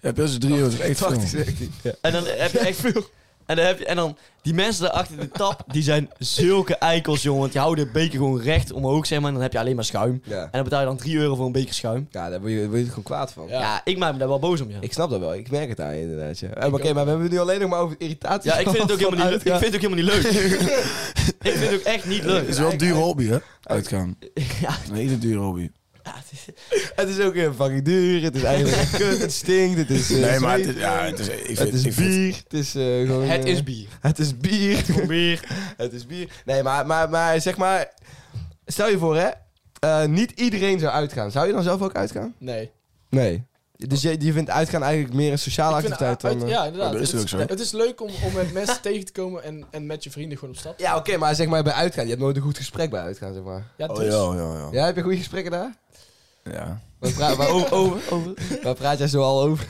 [SPEAKER 3] Ja, pils is 3 euro. dat is echt veel.
[SPEAKER 2] 80 zegt hij. Ja.
[SPEAKER 4] (laughs) En dan heb je echt veel. En dan, heb je, en dan die mensen daar achter de tap, die zijn zulke eikels, jongen. Want die houden de beker gewoon recht omhoog, zeg maar. En dan heb je alleen maar schuim.
[SPEAKER 2] Ja.
[SPEAKER 4] En dan betaal je dan 3 euro voor een beker schuim.
[SPEAKER 2] Ja, daar word je, word je er gewoon kwaad van.
[SPEAKER 4] Ja,
[SPEAKER 5] Ja.
[SPEAKER 4] ik maak me daar wel boos om, ja.
[SPEAKER 2] Ik snap dat wel. Ik merk het aan je inderdaad, ja. Eh, maar
[SPEAKER 5] Ik
[SPEAKER 2] Oké,
[SPEAKER 5] ook.
[SPEAKER 2] maar we hebben het nu alleen nog maar over irritaties.
[SPEAKER 4] ja, ik vind het (laughs) ook
[SPEAKER 2] van (laughs)
[SPEAKER 4] helemaal niet, ik
[SPEAKER 2] uitgaan.
[SPEAKER 4] vind het ook helemaal niet (laughs) leuk. ik vind het ook echt niet
[SPEAKER 3] Het is
[SPEAKER 4] leuk.
[SPEAKER 3] wel een dure hobby, hè? Uitgaan.
[SPEAKER 4] Ja,
[SPEAKER 3] Een hele dure hobby.
[SPEAKER 4] het is-
[SPEAKER 2] Het is ook heel fucking duur. Het is eigenlijk kut. Het stinkt. Het is... eh,
[SPEAKER 3] Nee, maar het
[SPEAKER 2] zweet.
[SPEAKER 3] is, ja, het is, ik vind,
[SPEAKER 2] Het
[SPEAKER 3] ik
[SPEAKER 2] is
[SPEAKER 3] vind-
[SPEAKER 2] bier. Het is eh, gewoon...
[SPEAKER 5] Het
[SPEAKER 2] eh,
[SPEAKER 5] is bier.
[SPEAKER 2] Het is bier.
[SPEAKER 4] probeer.
[SPEAKER 2] (laughs) Het is bier. Nee, maar, maar, maar zeg maar... Stel je voor, hè. eh, niet iedereen zou uitgaan. Zou je dan zelf ook uitgaan?
[SPEAKER 5] Nee.
[SPEAKER 2] Nee. Dus je, je vindt uitgaan eigenlijk meer een sociale
[SPEAKER 5] Ik vind,
[SPEAKER 2] activiteit
[SPEAKER 5] uit-
[SPEAKER 2] dan... eh?
[SPEAKER 5] ja, inderdaad.
[SPEAKER 3] Oh, dat is
[SPEAKER 5] het,
[SPEAKER 3] ook zo.
[SPEAKER 5] het is leuk om, om met mensen (laughs) tegen te komen en, en met je vrienden gewoon op stap.
[SPEAKER 2] Ja, oké, maar zeg maar bij uitgaan. Je hebt nooit een goed gesprek bij uitgaan, zeg maar.
[SPEAKER 5] Ja,
[SPEAKER 3] Oh
[SPEAKER 5] dus.
[SPEAKER 3] ja, ja, ja.
[SPEAKER 2] Ja, heb je goede gesprekken daar?
[SPEAKER 3] Ja,
[SPEAKER 2] Waar, pra- waar-
[SPEAKER 4] (laughs) Over, over, over.
[SPEAKER 2] waar praat jij zo al over?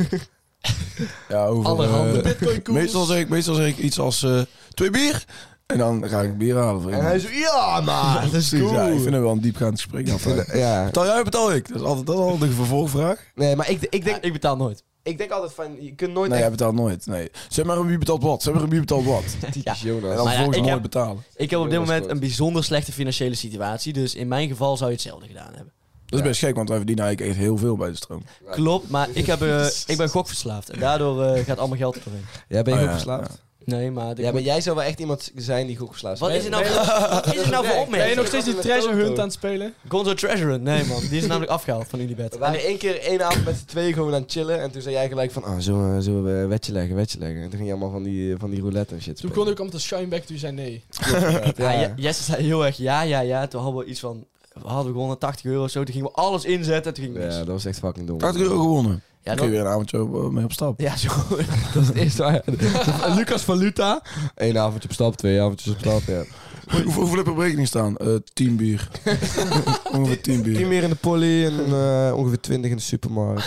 [SPEAKER 3] ja over,
[SPEAKER 2] Allerhande
[SPEAKER 3] eh, (laughs) meestal, zeg ik, meestal zeg ik iets als eh, twee bier. En dan ga ik bier halen voor
[SPEAKER 2] En hij
[SPEAKER 3] iemand.
[SPEAKER 2] zo, ja, maar dat is
[SPEAKER 3] Precies,
[SPEAKER 2] cool.
[SPEAKER 3] ja, ik vind het wel een diepgaand gesprek. altijd.
[SPEAKER 2] Ja,
[SPEAKER 3] Betaal jij, betaal ik. Dat is altijd, dat is altijd een vervolgvraag.
[SPEAKER 2] nee, maar ik, ik,
[SPEAKER 4] Ik, denk,
[SPEAKER 2] denk,
[SPEAKER 4] ik betaal nooit.
[SPEAKER 2] ik denk altijd van, je kunt nooit
[SPEAKER 3] Nee, jij
[SPEAKER 2] echt...
[SPEAKER 3] betaalt nooit. Nee. Zeg maar wie betaalt wat. Zeg maar wie betaalt wat.
[SPEAKER 4] Ja.
[SPEAKER 3] En
[SPEAKER 2] Jonas.
[SPEAKER 3] dan
[SPEAKER 4] Maar ja,
[SPEAKER 3] vervolgens
[SPEAKER 4] ik
[SPEAKER 3] nooit
[SPEAKER 4] heb-
[SPEAKER 3] betalen.
[SPEAKER 4] Ik heb op dit
[SPEAKER 2] Jongens,
[SPEAKER 4] moment
[SPEAKER 2] goed.
[SPEAKER 4] een bijzonder slechte financiële situatie. Dus in mijn geval zou je hetzelfde gedaan hebben.
[SPEAKER 3] Dat is best gek, want wij verdienen eigenlijk echt heel veel bij de stroom.
[SPEAKER 4] Klopt, maar ik, heb, (laughs) eh, ik ben gokverslaafd. En daardoor eh, gaat allemaal geld erin.
[SPEAKER 2] Jij ben je
[SPEAKER 3] Oh,
[SPEAKER 2] goed
[SPEAKER 3] ja,
[SPEAKER 2] verslaafd?
[SPEAKER 4] Nee, maar... de-
[SPEAKER 2] Ja, maar jij zou wel echt iemand zijn die goed verslaafd
[SPEAKER 4] Wat is er nou,
[SPEAKER 5] Nee,
[SPEAKER 4] voor- wat is er nou voor
[SPEAKER 5] Ben je nog
[SPEAKER 4] opmerking?
[SPEAKER 5] steeds die
[SPEAKER 2] Met
[SPEAKER 5] treasure
[SPEAKER 2] Toto.
[SPEAKER 5] hunt aan het spelen?
[SPEAKER 4] Gonzo Treasurer. Nee man, die is namelijk afgehaald van
[SPEAKER 2] We
[SPEAKER 4] Unibet.
[SPEAKER 2] waren één keer één avond met z'n tweeën gewoon aan het chillen. En toen zei jij gelijk van, ah, zullen we, zullen we wetje leggen, wetje leggen. En toen ging je allemaal van die, eh, van die roulette en shit
[SPEAKER 5] Toen kon ik om te schuin weg, toen zei
[SPEAKER 2] (laughs)
[SPEAKER 5] nee.
[SPEAKER 4] Ah, Ja, Je- Jesse zei heel erg ja, ja, ja. Toen hadden we iets van... We hadden gewonnen 80 euro of zo. Toen gingen we alles inzetten. Toen ging het mis.
[SPEAKER 2] Ja, dat was echt fucking dom.
[SPEAKER 3] 80 euro gewonnen.
[SPEAKER 4] Ja,
[SPEAKER 3] Dan kun je
[SPEAKER 4] dat,
[SPEAKER 3] weer een avondje op- mee op stap.
[SPEAKER 4] ja, zo.
[SPEAKER 2] (laughs)
[SPEAKER 4] (laughs)
[SPEAKER 2] Dat is het eerste waar. Lucas Valuta. Eén avondje op stap, twee avondjes op stap, ja.
[SPEAKER 3] Hoe- hoeveel heb je op rekening staan? Eh 10 bier. Ongeveer
[SPEAKER 2] Tien
[SPEAKER 3] 10 bier.
[SPEAKER 2] meer in de poly en eh, ongeveer twintig in de supermarkt.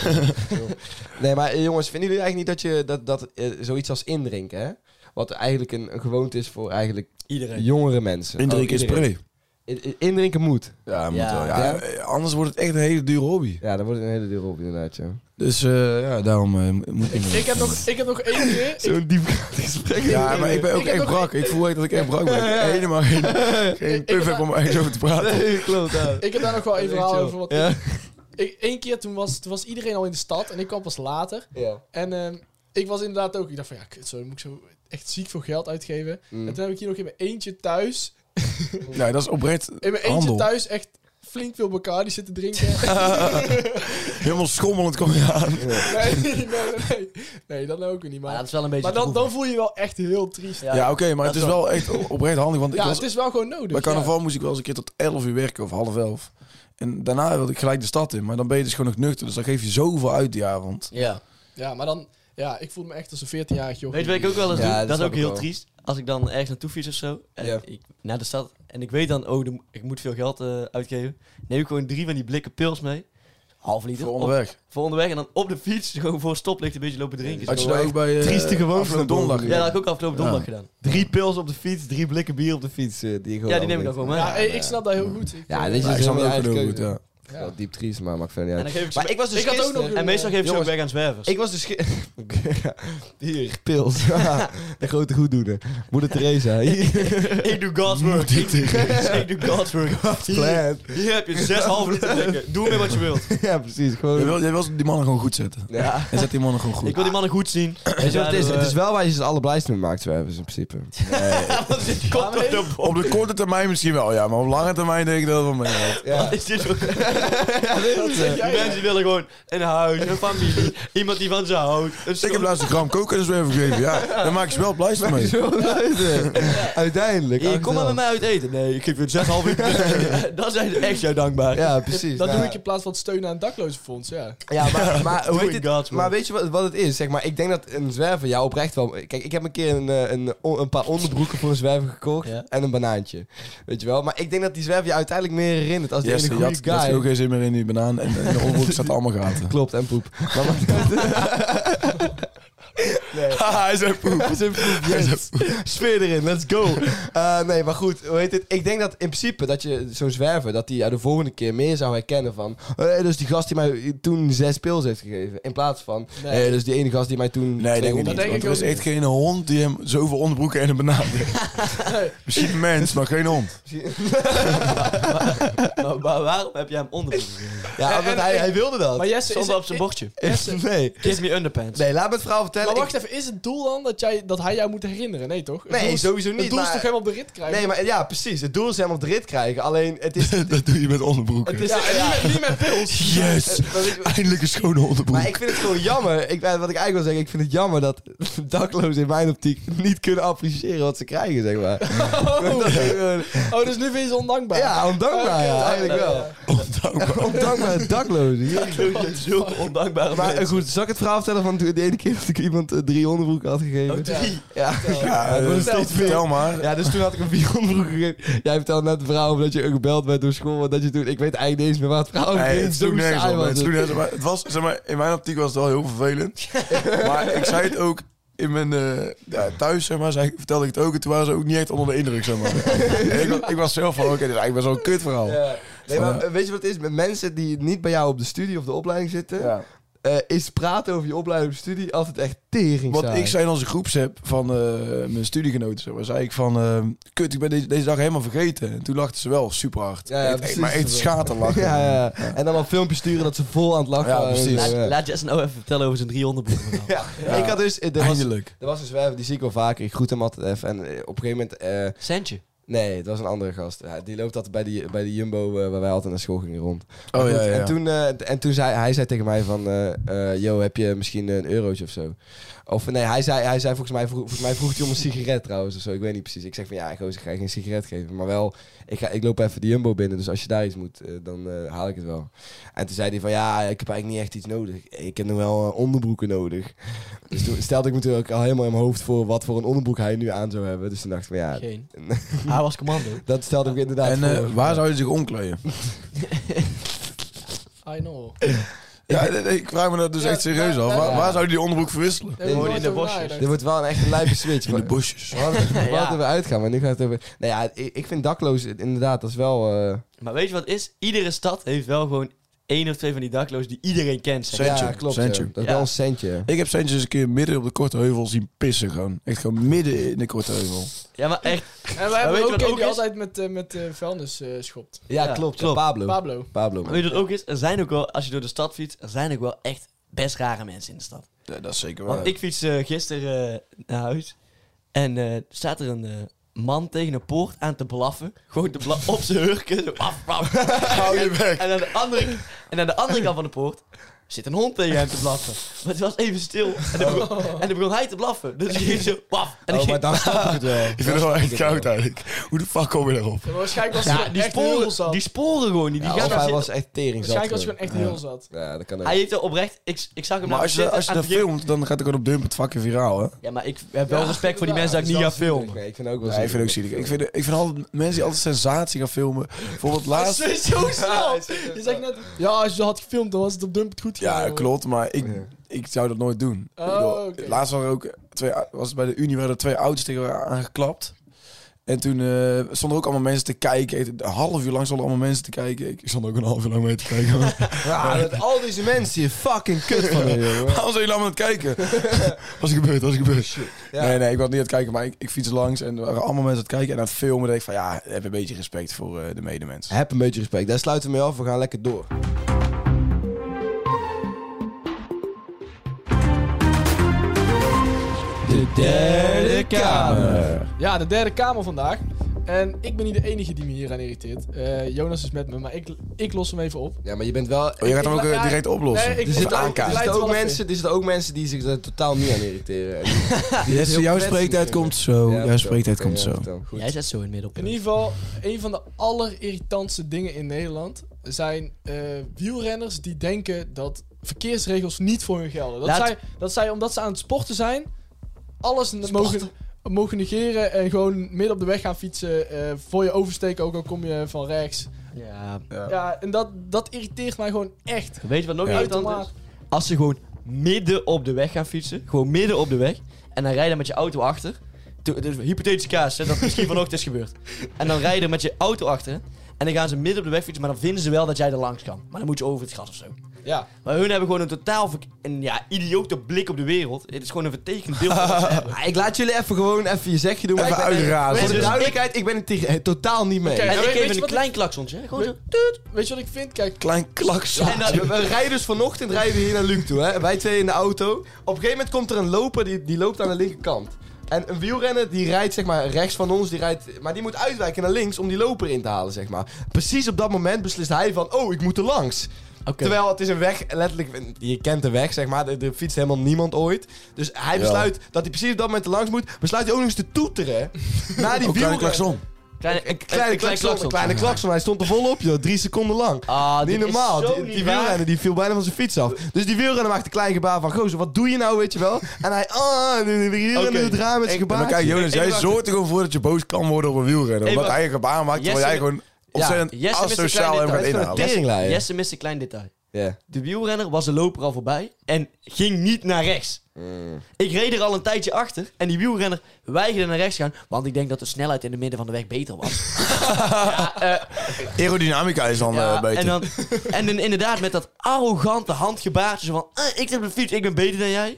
[SPEAKER 2] nee, maar eh, jongens, vinden jullie eigenlijk niet dat, je, dat, dat eh, zoiets als indrinken, hè? Wat eigenlijk een, een gewoonte is voor eigenlijk
[SPEAKER 4] Iedereen.
[SPEAKER 2] jongere mensen.
[SPEAKER 3] Indrink
[SPEAKER 2] Ook
[SPEAKER 3] is
[SPEAKER 2] iedereen.
[SPEAKER 3] pre.
[SPEAKER 2] In- in- Indrinken moet.
[SPEAKER 3] Ja, moet
[SPEAKER 4] Ja.
[SPEAKER 3] wel. Ja, eh, Anders wordt het echt een hele dure hobby.
[SPEAKER 2] Ja, dat wordt een hele dure op inderdaad, ja.
[SPEAKER 3] Dus eh, ja, daarom eh, moet ik...
[SPEAKER 5] Ik heb, nog, ik heb nog één keer. Ik,
[SPEAKER 2] Zo'n diepgaand gesprek.
[SPEAKER 3] Ja, maar ik ben ook
[SPEAKER 5] Ik heb
[SPEAKER 3] echt
[SPEAKER 5] nog-
[SPEAKER 3] brak. Ik voel echt dat ik echt
[SPEAKER 5] (laughs)
[SPEAKER 3] brak ben. Ik heb Helemaal geen, geen
[SPEAKER 5] Ik-
[SPEAKER 3] puff
[SPEAKER 5] ik-
[SPEAKER 3] heb om ergens over te praten.
[SPEAKER 2] Nee, (laughs) klopt. ja.
[SPEAKER 5] ik heb daar nog wel
[SPEAKER 2] Dat
[SPEAKER 5] even
[SPEAKER 2] is
[SPEAKER 5] verhaal
[SPEAKER 2] echt zo.
[SPEAKER 5] over. Want
[SPEAKER 2] Ja.
[SPEAKER 5] ik, één keer toen was, toen was iedereen al in de stad en ik kwam pas later.
[SPEAKER 2] Ja.
[SPEAKER 5] En ehm, ik was inderdaad ook. Ik dacht van ja, kut, zo dan moet ik zo echt ziek veel geld uitgeven.
[SPEAKER 2] Mm.
[SPEAKER 5] En toen heb ik hier nog in mijn eentje thuis.
[SPEAKER 3] Nou, dat is
[SPEAKER 5] (laughs)
[SPEAKER 3] oprecht
[SPEAKER 5] In mijn eentje
[SPEAKER 3] handel.
[SPEAKER 5] thuis echt flink veel Bacardi zitten drinken.
[SPEAKER 3] (laughs) Helemaal schommelend kom je aan.
[SPEAKER 5] nee, nee, nee, nee. Nee, dat nou ook weer niet.
[SPEAKER 4] Maar
[SPEAKER 5] Maar,
[SPEAKER 4] dat is wel een beetje
[SPEAKER 5] maar
[SPEAKER 4] te
[SPEAKER 5] dan,
[SPEAKER 4] proeven.
[SPEAKER 5] dan voel je je wel echt heel triest. Ja,
[SPEAKER 3] Ja, oké, maar het is wel echt oprecht handig. Want ik was,
[SPEAKER 5] het is wel gewoon nodig.
[SPEAKER 3] bij
[SPEAKER 5] ja.
[SPEAKER 3] carnaval moest ik wel eens een keer tot 11 uur werken of half elf. En daarna wilde ik gelijk de stad in. Maar dan ben je dus gewoon nog nuchter. Dus dan geef je zoveel uit die avond.
[SPEAKER 4] Ja.
[SPEAKER 5] Ja, maar dan... Ja, ik voel me echt als een 14-jarig
[SPEAKER 4] Weet
[SPEAKER 5] jochie.
[SPEAKER 4] je wat ik ook wel eens
[SPEAKER 2] Ja, dat
[SPEAKER 4] doe? Dat, is
[SPEAKER 2] snap
[SPEAKER 4] ook
[SPEAKER 2] ik
[SPEAKER 4] heel
[SPEAKER 2] wel.
[SPEAKER 4] triest. Als ik dan ergens naartoe fiets of zo, en
[SPEAKER 2] Ja.
[SPEAKER 4] ik, naar de stad, en ik weet dan, oh, de- ik moet veel geld eh, uitgeven, neem ik gewoon drie van die blikken pils mee. Half liter.
[SPEAKER 3] Voor
[SPEAKER 4] op-
[SPEAKER 3] onderweg.
[SPEAKER 4] voor onderweg. En dan op de fiets, gewoon voor een stoplicht, een beetje lopen drinken.
[SPEAKER 3] Had je
[SPEAKER 4] Zo,
[SPEAKER 3] daar ook bij... eh,
[SPEAKER 2] trieste gewoonte
[SPEAKER 3] afgelopen donderdag.
[SPEAKER 4] ja, dat heb ik ook afgelopen
[SPEAKER 3] Ja.
[SPEAKER 4] donderdag gedaan.
[SPEAKER 2] Drie pils op de fiets, drie blikken bier op de fiets. eh, die je gewoon
[SPEAKER 4] Ja, die neem ik
[SPEAKER 2] allemaal
[SPEAKER 4] ook wel
[SPEAKER 2] drinkt.
[SPEAKER 4] mee.
[SPEAKER 5] Ja, hey, ik snap dat heel goed. Ik,
[SPEAKER 2] Ja,
[SPEAKER 5] eh,
[SPEAKER 2] dit
[SPEAKER 3] Ja,
[SPEAKER 2] is
[SPEAKER 3] ik snap het
[SPEAKER 2] helemaal
[SPEAKER 3] ook
[SPEAKER 2] je
[SPEAKER 3] heel
[SPEAKER 2] eigen
[SPEAKER 3] goed, ja.
[SPEAKER 5] ja.
[SPEAKER 2] Wel diep triest, maar maakt verder niet
[SPEAKER 4] En
[SPEAKER 2] uit.
[SPEAKER 4] dan geef ik ze
[SPEAKER 2] Maar ik was dus
[SPEAKER 5] Ik had ook
[SPEAKER 2] gisteren-
[SPEAKER 5] nog-
[SPEAKER 4] En meestal geef je ze ook
[SPEAKER 2] Jongens.
[SPEAKER 4] weg aan zwervers.
[SPEAKER 2] Ik was dus... ge- Oké, (laughs) Hier, pils. (laughs) de grote goeddoener. Moeder Teresa. (laughs) Hier.
[SPEAKER 4] (laughs) Ik doe God's work. Ik, doe God's
[SPEAKER 2] (laughs)
[SPEAKER 4] work. Hier,
[SPEAKER 2] Plan.
[SPEAKER 4] hier heb je zes halve (laughs) liter drinken. Doe mee wat je wilt.
[SPEAKER 2] Ja, precies.
[SPEAKER 3] Jij
[SPEAKER 2] Gewoon...
[SPEAKER 3] wil, jij wil die mannen gewoon goed zetten.
[SPEAKER 2] Ja.
[SPEAKER 3] En zet die mannen gewoon goed.
[SPEAKER 4] Ik wil die mannen goed zien.
[SPEAKER 2] Weet je wat het is?
[SPEAKER 4] Ja,
[SPEAKER 2] Het is wel waar je ze het allerblijst mee maakt, zwervers, in principe.
[SPEAKER 4] Wat is dit? Komt op de
[SPEAKER 3] Op de korte termijn misschien wel, ja. Maar op lange termijn denk ik dat het wel mee valt.
[SPEAKER 2] (laughs) Ja.
[SPEAKER 4] Is dit ook-
[SPEAKER 5] dat zeg
[SPEAKER 4] Die
[SPEAKER 5] jij, ja.
[SPEAKER 4] mensen willen gewoon een huis, een familie, iemand die van ze houdt. Een
[SPEAKER 3] Ik heb laatst een gram koken en zo even gegeven. Ja, daar maak je ze wel blij (laughs) mee.
[SPEAKER 2] Zo luister. (laughs) Uiteindelijk.
[SPEAKER 4] Hey, kom maar met mij uit eten. Nee, ik geef je zes
[SPEAKER 2] (laughs)
[SPEAKER 4] halve liter. Dan zijn ze echt jou dankbaar.
[SPEAKER 2] Ja, precies.
[SPEAKER 5] Dat doe
[SPEAKER 2] Nou,
[SPEAKER 5] ik in plaats van het steunen aan het daklozenfonds, ja.
[SPEAKER 2] Ja, maar, maar, hoe
[SPEAKER 4] Doing
[SPEAKER 2] heet
[SPEAKER 4] God's
[SPEAKER 2] het, maar weet je wat, wat het is? Zeg maar, ik denk dat een zwerver jou oprecht wel... Kijk, ik heb een keer een, eh, een, o- een paar onderbroeken voor een zwerver gekocht.
[SPEAKER 4] Ja.
[SPEAKER 2] En een banaantje. Weet je wel? Maar ik denk dat die zwerver je uiteindelijk meer herinnert als die
[SPEAKER 3] Yes,
[SPEAKER 2] ene
[SPEAKER 3] je
[SPEAKER 2] goede
[SPEAKER 3] had, je had
[SPEAKER 2] guy.
[SPEAKER 3] ook geen zin meer in die banaan. En in de onderbroek zaten allemaal gaten.
[SPEAKER 2] Klopt, en poep. Maar wat-
[SPEAKER 3] Haha, hij zei poep.
[SPEAKER 2] Dat is een poep, yes. Sfeer erin, let's go. Eh, nee, maar goed, hoe heet het? Ik denk dat in principe dat je zo'n zwerver, dat hij jou de volgende keer meer zou herkennen van... Hé, hey, dus die gast die mij toen zes pils heeft gegeven. In plaats van, hé,
[SPEAKER 5] Nee.
[SPEAKER 2] dus die ene gast die mij toen...
[SPEAKER 3] Nee, denk ik niet.
[SPEAKER 5] Dat denk
[SPEAKER 3] Want
[SPEAKER 5] ik
[SPEAKER 3] er is
[SPEAKER 5] ook
[SPEAKER 3] echt geen hond die hem zoveel onderbroeken en een banaan heeft.
[SPEAKER 5] Nee.
[SPEAKER 2] (laughs)
[SPEAKER 3] Misschien een mens, maar geen hond.
[SPEAKER 4] Maar, maar waarom heb jij hem onderbroek?
[SPEAKER 2] Ja,
[SPEAKER 5] En-
[SPEAKER 2] want
[SPEAKER 5] en-
[SPEAKER 2] hij,
[SPEAKER 5] en-
[SPEAKER 2] hij wilde dat.
[SPEAKER 5] Maar Jesse, is
[SPEAKER 4] Zonder op
[SPEAKER 5] het,
[SPEAKER 4] zijn bordje.
[SPEAKER 2] nee.
[SPEAKER 4] Kiss me underpants.
[SPEAKER 2] nee, laat me het verhaal vertellen.
[SPEAKER 5] maar wacht even, is het doel dan dat, jij, dat hij jou moet herinneren? Nee, toch? Het
[SPEAKER 2] Nee,
[SPEAKER 5] doel is-
[SPEAKER 2] sowieso niet,
[SPEAKER 5] Het doel
[SPEAKER 2] maar-
[SPEAKER 5] is toch helemaal op de rit
[SPEAKER 2] Ik-
[SPEAKER 5] krijgen?
[SPEAKER 2] nee, maar ja, precies. Het doel is helemaal op de rit krijgen. Alleen, het (laughs)
[SPEAKER 3] (laughs)
[SPEAKER 2] is...
[SPEAKER 3] Dat doe je met
[SPEAKER 2] Het
[SPEAKER 3] onderbroeken.
[SPEAKER 2] is
[SPEAKER 5] Ja, en
[SPEAKER 2] ja.
[SPEAKER 5] Niet, met, niet met pils.
[SPEAKER 3] Yes!
[SPEAKER 2] (laughs) Dat is-
[SPEAKER 3] Eindelijk een schone
[SPEAKER 2] Maar
[SPEAKER 3] onderbroek.
[SPEAKER 2] ik vind het gewoon jammer. Ik, wat ik eigenlijk wil zeggen, ik vind het jammer dat (laughs) daklozen in mijn optiek niet kunnen appreciëren wat ze krijgen, zeg
[SPEAKER 3] (laughs)
[SPEAKER 2] maar.
[SPEAKER 5] Oh,
[SPEAKER 2] Dat is gewoon-
[SPEAKER 5] oh, dus nu vind je ze ondankbaar.
[SPEAKER 2] ja,
[SPEAKER 5] Oké,
[SPEAKER 2] ondankbaar ja, eigenlijk wel.
[SPEAKER 5] Oh, ja.
[SPEAKER 3] Ondankbaar.
[SPEAKER 2] Oh,
[SPEAKER 5] (laughs)
[SPEAKER 2] Ondankbare daklozen. Ja.
[SPEAKER 4] (laughs) Ik ben zulke ondankbare
[SPEAKER 2] Maar eh,
[SPEAKER 4] mensen.
[SPEAKER 2] goed, zal ik het verhaal vertellen van de ene keer dat ik iemand eh, drie onderbroeken had
[SPEAKER 5] Oh,
[SPEAKER 2] gegeven?
[SPEAKER 4] Drie.
[SPEAKER 2] Ja.
[SPEAKER 3] Ja,
[SPEAKER 2] het
[SPEAKER 3] eh,
[SPEAKER 2] wordt steeds meer.
[SPEAKER 3] vertel maar.
[SPEAKER 2] Ja, dus toen had ik hem vier (laughs) onderbroeken gegeven. Jij vertelde net het verhaal over dat je gebeld werd door school. want Dat je toen, ik weet eigenlijk niet eens meer waar het verhaal over
[SPEAKER 3] Nee,
[SPEAKER 2] ging.
[SPEAKER 3] het sloeg
[SPEAKER 2] Zo
[SPEAKER 3] nergens
[SPEAKER 2] saai
[SPEAKER 3] op.
[SPEAKER 2] was
[SPEAKER 3] Het
[SPEAKER 2] het.
[SPEAKER 3] sloeg nergens op. Maar Het was, zeg maar, in mijn optiek was het wel heel vervelend. maar ik zei het ook in mijn eh, ja, thuis, zeg maar, zei, vertelde ik het ook. En toen waren ze ook niet echt onder de indruk, zeg maar. En ik, was- ik was zelf van, oké, dit is eigenlijk best wel een kut verhaal.
[SPEAKER 2] Ja. Nee, maar eh, weet je wat het is? Met mensen die niet bij jou op de studie of de opleiding zitten,
[SPEAKER 3] Ja.
[SPEAKER 2] eh, is praten over je opleiding of studie altijd echt tering
[SPEAKER 3] Want ik zei in onze groepsapp van eh, mijn studiegenoten, zeg maar, zei ik van, eh, kut, ik ben deze, deze dag helemaal vergeten. En toen lachten ze wel super hard.
[SPEAKER 2] Ja, ja,
[SPEAKER 3] Echt-
[SPEAKER 2] precies.
[SPEAKER 3] maar echt
[SPEAKER 2] (laughs)
[SPEAKER 3] schaterlachen.
[SPEAKER 2] Ja, ja, ja. En dan al filmpjes sturen dat ze vol aan het lachen
[SPEAKER 3] Ja,
[SPEAKER 2] waren.
[SPEAKER 3] precies.
[SPEAKER 4] Laat,
[SPEAKER 2] Ja.
[SPEAKER 4] laat Jess nou even vertellen over zijn drie (laughs) onderbroeken.
[SPEAKER 2] Ja. Ik had dus... eh, Er was,
[SPEAKER 3] Eindelijk.
[SPEAKER 2] er was een zwerver, die zie ik wel vaker. Ik groet hem altijd even. En eh, op een gegeven moment... eh,
[SPEAKER 4] Centje.
[SPEAKER 2] nee, het was een andere gast. Ja, die loopt altijd bij die, bij die Jumbo eh, waar wij altijd naar school gingen rond. Maar
[SPEAKER 3] Oh
[SPEAKER 2] goed,
[SPEAKER 3] ja, ja.
[SPEAKER 2] En toen, eh, en toen zei hij zei tegen mij van... eh, eh, yo, heb je misschien een eurotje of zo? Of nee, hij zei, hij zei volgens, mij, vroeg, volgens mij vroeg hij om een sigaret trouwens of zo. Ik weet niet precies. Ik zeg van ja, gozer, ik ga je geen sigaret geven. Maar wel, ik, ga, ik loop even de Jumbo binnen. Dus als je daar iets moet, eh, dan eh, haal ik het wel. En toen zei hij van ja, ik heb eigenlijk niet echt iets nodig. Ik heb nog wel eh, onderbroeken nodig. Dus toen stelde ik me natuurlijk al helemaal in mijn hoofd voor... wat voor een onderbroek hij nu aan zou hebben. Dus toen dacht ik van ja,
[SPEAKER 4] Geen. Hij was commando.
[SPEAKER 2] dat stelde ik inderdaad
[SPEAKER 3] En eh,
[SPEAKER 2] voor.
[SPEAKER 3] waar zou je zich omkleden?
[SPEAKER 5] I know.
[SPEAKER 3] Ja, ik vraag me dat dus
[SPEAKER 5] Ja,
[SPEAKER 3] echt serieus
[SPEAKER 5] ja,
[SPEAKER 3] af.
[SPEAKER 5] ja,
[SPEAKER 3] Waar,
[SPEAKER 5] ja.
[SPEAKER 3] waar zou je die onderbroek verwisselen?
[SPEAKER 5] Daar heb ik
[SPEAKER 4] Hoor je
[SPEAKER 5] nooit
[SPEAKER 4] de
[SPEAKER 5] over
[SPEAKER 4] bosjes?
[SPEAKER 5] nagedacht.
[SPEAKER 2] Dit wordt wel een echte lijpe switch.
[SPEAKER 3] (laughs) In de bosjes.
[SPEAKER 2] We hadden, we (laughs) hadden
[SPEAKER 4] Ja.
[SPEAKER 2] het over uitgaan, maar nu gaat het over... Nou ja, ik, ik vind daklozen inderdaad, dat is wel... eh,
[SPEAKER 4] Maar weet je wat het is? Iedere stad heeft wel gewoon één of twee van die daklozen die iedereen kent. zeg.
[SPEAKER 3] Centje,
[SPEAKER 2] ja, klopt.
[SPEAKER 3] centje.
[SPEAKER 2] ja. Dat is
[SPEAKER 4] Ja.
[SPEAKER 2] wel een centje.
[SPEAKER 3] Ik heb Sanchez eens een keer midden op de Korte Heuvel zien pissen gewoon. Echt gewoon midden in de Korte Heuvel.
[SPEAKER 4] Ja, maar echt.
[SPEAKER 5] En we hebben
[SPEAKER 4] weet je
[SPEAKER 5] ook
[SPEAKER 4] wat
[SPEAKER 5] een
[SPEAKER 4] ook
[SPEAKER 5] die
[SPEAKER 4] is?
[SPEAKER 5] altijd met, eh, met eh, vuilnis eh, schopt.
[SPEAKER 2] Ja,
[SPEAKER 4] Ja,
[SPEAKER 2] klopt.
[SPEAKER 4] klopt.
[SPEAKER 2] Pablo.
[SPEAKER 5] Pablo.
[SPEAKER 2] Pablo. man.
[SPEAKER 4] Weet je wat ook is? Er zijn ook wel, als je door de stad fietst, er zijn ook wel echt best rare mensen in de stad.
[SPEAKER 3] Ja, dat is zeker
[SPEAKER 4] Want
[SPEAKER 3] waar.
[SPEAKER 4] ik fiets eh, gisteren eh, naar huis en eh, staat er een eh, man tegen een poort aan te blaffen. Gewoon te bla- op zijn hurken. Zo, af, af.
[SPEAKER 3] (laughs) hou je weg.
[SPEAKER 4] En aan, de andere, en aan de andere kant van de poort zit een hond tegen hem te blaffen. Maar het was even stil. En dan
[SPEAKER 5] Oh.
[SPEAKER 4] begon, en dan begon hij te blaffen. Dus ik ging zo, paf. En ik
[SPEAKER 2] Oh,
[SPEAKER 4] ging-
[SPEAKER 2] maar dan snap
[SPEAKER 3] (laughs)
[SPEAKER 2] ik het wel.
[SPEAKER 3] Ik vind het wel echt koud eigenlijk. Hoe de fuck kom je daarop?
[SPEAKER 5] Ja, maar waarschijnlijk was
[SPEAKER 4] Ja,
[SPEAKER 5] hij
[SPEAKER 4] die,
[SPEAKER 5] echt heel
[SPEAKER 4] sporen,
[SPEAKER 5] zat.
[SPEAKER 4] die sporen gewoon niet. Die
[SPEAKER 2] Ja,
[SPEAKER 4] gaan
[SPEAKER 2] of
[SPEAKER 4] daar
[SPEAKER 2] hij
[SPEAKER 4] zitten.
[SPEAKER 2] was echt tering zat.
[SPEAKER 5] waarschijnlijk was hij
[SPEAKER 2] gewoon.
[SPEAKER 5] gewoon echt heel zat.
[SPEAKER 2] Ja, dat kan ook.
[SPEAKER 4] Hij heeft er oprecht... Ik, ik zag hem
[SPEAKER 3] Maar
[SPEAKER 4] daar
[SPEAKER 3] als je,
[SPEAKER 4] zitten
[SPEAKER 3] als je
[SPEAKER 4] aan
[SPEAKER 3] dat
[SPEAKER 4] het begin-
[SPEAKER 3] filmt, dan gaat het gewoon op dump het fucking viraal, hè?
[SPEAKER 4] Ja, maar ik heb wel
[SPEAKER 5] Ja,
[SPEAKER 4] respect voor die mensen dat ik
[SPEAKER 5] inderdaad,
[SPEAKER 4] niet ga
[SPEAKER 5] dat is wel
[SPEAKER 4] filmen.
[SPEAKER 2] Nee, ik vind het ook wel
[SPEAKER 3] Ja, ik vind het ook zielig. Ik vind, ik vind altijd mensen die altijd sensatie gaan filmen. Bijvoorbeeld
[SPEAKER 4] (laughs)
[SPEAKER 3] laatst...
[SPEAKER 5] Zo zo snel! Je zegt net, ja, als je dat had gefilmd, dan was het op dump het goed.
[SPEAKER 3] Ja,
[SPEAKER 5] gekomen.
[SPEAKER 3] klopt, maar ik, ik zou dat nooit doen. Ik bedoel,
[SPEAKER 5] Oh, oké.
[SPEAKER 3] Laatst waren er ook twee, was het bij de Unie waren er twee auto's tegen elkaar aangeklapt. En toen eh, stonden ook allemaal mensen te kijken. Een half uur lang stonden allemaal mensen te kijken. Ik stond ook een half uur lang mee te kijken. (laughs)
[SPEAKER 2] Ja, Ah,
[SPEAKER 3] Ah.
[SPEAKER 2] dat al deze mensen hier fucking kut van hun,
[SPEAKER 3] (laughs)
[SPEAKER 2] jongen.
[SPEAKER 3] Waarom zijn jullie allemaal aan het (laughs) kijken? Als het gebeurt, als het gebeurt.
[SPEAKER 2] Ja.
[SPEAKER 3] Nee, nee, ik was niet aan het kijken, maar ik, ik fiets langs en er waren allemaal mensen aan het kijken. En aan het filmen dacht ik van ja, heb een beetje respect voor eh, de medemens.
[SPEAKER 2] Heb een beetje respect. Daar sluiten we mee af. We gaan lekker door. De derde kamer.
[SPEAKER 5] Ja, de derde kamer vandaag. En ik ben niet de enige die me hier aan irriteert. Eh, Jonas is met me, maar ik, ik los hem even op.
[SPEAKER 2] Ja, maar je bent wel...
[SPEAKER 3] Oh, je gaat hem
[SPEAKER 5] Ik-
[SPEAKER 3] ook eh,
[SPEAKER 5] ja,
[SPEAKER 3] direct oplossen.
[SPEAKER 5] nee, ik-
[SPEAKER 2] Er
[SPEAKER 3] Of
[SPEAKER 2] zitten, ook,
[SPEAKER 5] aankaarten.
[SPEAKER 2] er, zitten
[SPEAKER 5] Leidt
[SPEAKER 2] ook
[SPEAKER 5] wel even.
[SPEAKER 2] mensen, er zitten ook mensen die zich er totaal niet aan irriteren. Die het heel
[SPEAKER 3] Jesse, jouw
[SPEAKER 2] kwetsend
[SPEAKER 3] spreektijd
[SPEAKER 2] vinden.
[SPEAKER 3] komt zo.
[SPEAKER 2] Ja,
[SPEAKER 3] jouw
[SPEAKER 2] vertel.
[SPEAKER 3] spreektijd
[SPEAKER 2] Oké,
[SPEAKER 3] komt
[SPEAKER 2] ja,
[SPEAKER 3] zo.
[SPEAKER 2] vertel. Goed.
[SPEAKER 4] Jij zet zo in het midden op.
[SPEAKER 5] In ieder geval, een van de allerirritantste dingen in Nederland zijn eh, wielrenners die denken dat verkeersregels niet voor hun gelden. Dat,
[SPEAKER 4] Laat-
[SPEAKER 5] zij, dat zij, omdat ze aan het sporten zijn, alles ne- mogen, mogen negeren en gewoon midden op de weg gaan fietsen. eh, voor je oversteken, ook al kom je van rechts.
[SPEAKER 4] Ja.
[SPEAKER 5] Ja, en dat, dat irriteert mij gewoon echt.
[SPEAKER 4] Weet je wat nog
[SPEAKER 3] Ja.
[SPEAKER 4] irritant is? Als ze gewoon midden op de weg gaan fietsen. Gewoon midden op de weg. En dan rijden met je auto achter. To- Dus hypothetische kaas, hè, dat misschien vanochtend is gebeurd. En dan rijden met je auto achter. En dan gaan ze midden op de weg fietsen. Maar dan vinden ze wel dat jij er langs kan. Maar dan moet je over het gras of zo.
[SPEAKER 5] Ja.
[SPEAKER 4] Maar hun hebben gewoon een totaal verk- een, ja, idiote blik op de wereld. Het is gewoon een vertekend beeld. van wat ze hebben.
[SPEAKER 2] Ah, Ik laat jullie even gewoon even je zegje doen. maar
[SPEAKER 3] Even
[SPEAKER 2] ik ben-
[SPEAKER 3] uitrazen.
[SPEAKER 2] Voor de
[SPEAKER 4] Dus ik-
[SPEAKER 2] duidelijkheid, ik ben het tegen- eh, totaal niet mee.
[SPEAKER 5] Oké.
[SPEAKER 4] En
[SPEAKER 5] weet-
[SPEAKER 4] ik
[SPEAKER 5] weet je
[SPEAKER 4] geef een
[SPEAKER 5] wat
[SPEAKER 4] klein klaksontje. hè, Gewoon zo.
[SPEAKER 5] Weet je wat ik vind? Kijk,
[SPEAKER 3] Klein klakson.
[SPEAKER 4] En dan-
[SPEAKER 2] We, we rijden dus vanochtend rijden we hier naar Luc toe. Hè? Wij twee in de auto. Op een gegeven moment komt er een loper die, die loopt aan de linkerkant. En een wielrenner die rijdt zeg maar rechts van ons, die rijdt, maar die moet uitwijken naar links om die loper in te halen zeg maar. Precies op dat moment beslist hij van, oh ik moet er langs. Terwijl het is een weg, letterlijk, je kent de weg zeg maar, er, er fietst helemaal niemand ooit. Dus hij
[SPEAKER 3] Ja.
[SPEAKER 2] besluit dat hij precies op dat moment er langs moet, besluit hij ook nog eens te toeteren naar die
[SPEAKER 3] Oh, kleine
[SPEAKER 2] wielrenner.
[SPEAKER 3] klakson.
[SPEAKER 4] Kleine, een, een- een
[SPEAKER 2] Kleine klakson, een kleine klakson. Hij stond er vol op, joh. Drie seconden lang.
[SPEAKER 4] Ah,
[SPEAKER 2] Niet
[SPEAKER 4] dit is
[SPEAKER 2] normaal.
[SPEAKER 4] zo
[SPEAKER 2] Die,
[SPEAKER 4] niet
[SPEAKER 2] die
[SPEAKER 4] waar.
[SPEAKER 2] wielrenner die viel bijna van zijn fiets af. Dus die wielrenner maakt een klein gebaar van... Gozer, wat doe je nou, weet je wel? En hij... Ah, en de wielrenner
[SPEAKER 4] Oké.
[SPEAKER 2] doet raar met zijn
[SPEAKER 4] Ik-
[SPEAKER 3] En
[SPEAKER 2] gebaar.
[SPEAKER 3] maar kijk, Jonas,
[SPEAKER 4] Even
[SPEAKER 3] jij
[SPEAKER 4] wachten.
[SPEAKER 3] zorgt er gewoon voor dat je boos kan worden op een wielrenner.
[SPEAKER 4] Even
[SPEAKER 3] Omdat
[SPEAKER 4] wachten.
[SPEAKER 3] hij een gebaar maakt terwijl
[SPEAKER 4] Jesse-
[SPEAKER 3] jij gewoon ontzettend
[SPEAKER 4] Jesse mist een klein
[SPEAKER 3] asociaal hem
[SPEAKER 4] detail.
[SPEAKER 3] gaat
[SPEAKER 2] Hij is gewoon
[SPEAKER 3] inhalen.
[SPEAKER 2] een Teringlijn.
[SPEAKER 4] Jesse mist een klein detail. De wielrenner was de loper al voorbij en ging niet naar rechts. Ik reed er al een tijdje achter en die wielrenner weigerde naar rechts te gaan, want ik denk dat de snelheid in het midden van de weg beter was.
[SPEAKER 3] Aerodynamica is dan eh, beter.
[SPEAKER 4] en, dan, en dan inderdaad met dat arrogante handgebaartje zo van, "Eh, ik heb een fiets, ik ben beter dan jij.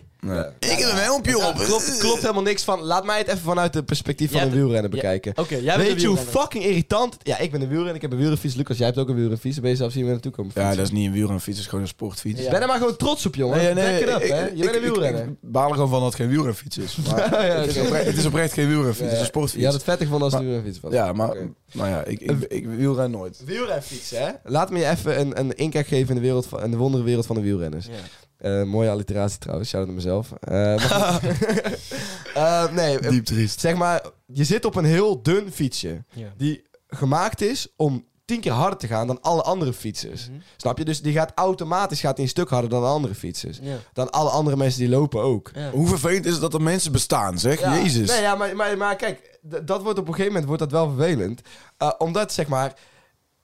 [SPEAKER 3] ik heb een helmpje op.
[SPEAKER 2] Klopt, klopt helemaal niks van... Laat mij het even vanuit het perspectief van
[SPEAKER 4] Jij
[SPEAKER 2] een
[SPEAKER 4] hebt-
[SPEAKER 2] wielrenner
[SPEAKER 4] Ja,
[SPEAKER 2] bekijken.
[SPEAKER 4] Oké, jij bent
[SPEAKER 2] Weet
[SPEAKER 4] de
[SPEAKER 2] je hoe
[SPEAKER 4] wielrenner.
[SPEAKER 2] fucking irritant... Ja, ik ben een wielrenner. Ik heb een wielrenfiets. Lucas, jij hebt ook een wielrenfiets. Dan ben je zelfs hier weer naartoe komen
[SPEAKER 3] Ja,
[SPEAKER 2] fietsen.
[SPEAKER 3] dat is niet een wielrenfiets, dat is gewoon een sportfiets.
[SPEAKER 4] Ja.
[SPEAKER 2] Ben er maar gewoon trots op, jongen. Nee, nee, up, hè. Je bent een wielrenner.
[SPEAKER 3] Ik baal er gewoon van dat het geen wielrenfiets is. Maar
[SPEAKER 2] (laughs) Ja,
[SPEAKER 3] het, is
[SPEAKER 2] oké.
[SPEAKER 3] oprecht, het is oprecht geen wielrenfiets, het is een
[SPEAKER 2] Je
[SPEAKER 3] sportfiets.
[SPEAKER 2] had het vettig gevonden als het een wielrenfiets was.
[SPEAKER 3] Ja, maar
[SPEAKER 2] Oké.
[SPEAKER 3] nou ja, ik, ik, ik wielren nooit.
[SPEAKER 2] Wielrenfietsen, hè? Laat me je even een, een inkijk geven in de, wereld van, in de wonderenwereld van de wielrenners.
[SPEAKER 4] Ja.
[SPEAKER 2] Eh, mooie alliteratie trouwens, shout out naar mezelf. Eh, maar
[SPEAKER 4] (laughs)
[SPEAKER 2] goed. Eh, nee, eh,
[SPEAKER 3] Diep triest.
[SPEAKER 2] zeg maar, je zit op een heel dun fietsje.
[SPEAKER 4] Ja.
[SPEAKER 2] Die gemaakt is om tien keer harder te gaan dan alle andere fietsers.
[SPEAKER 4] Mhm.
[SPEAKER 2] Snap je? Dus die gaat automatisch gaat die een stuk harder dan de andere fietsers.
[SPEAKER 4] Ja.
[SPEAKER 2] Dan alle andere mensen die lopen ook.
[SPEAKER 4] Ja.
[SPEAKER 3] Hoe vervelend is het dat er mensen bestaan, zeg?
[SPEAKER 2] Ja.
[SPEAKER 3] Jezus.
[SPEAKER 2] Nee, ja, maar, maar, maar kijk, d- dat wordt op een gegeven moment wordt dat wel vervelend. Eh, omdat, zeg maar,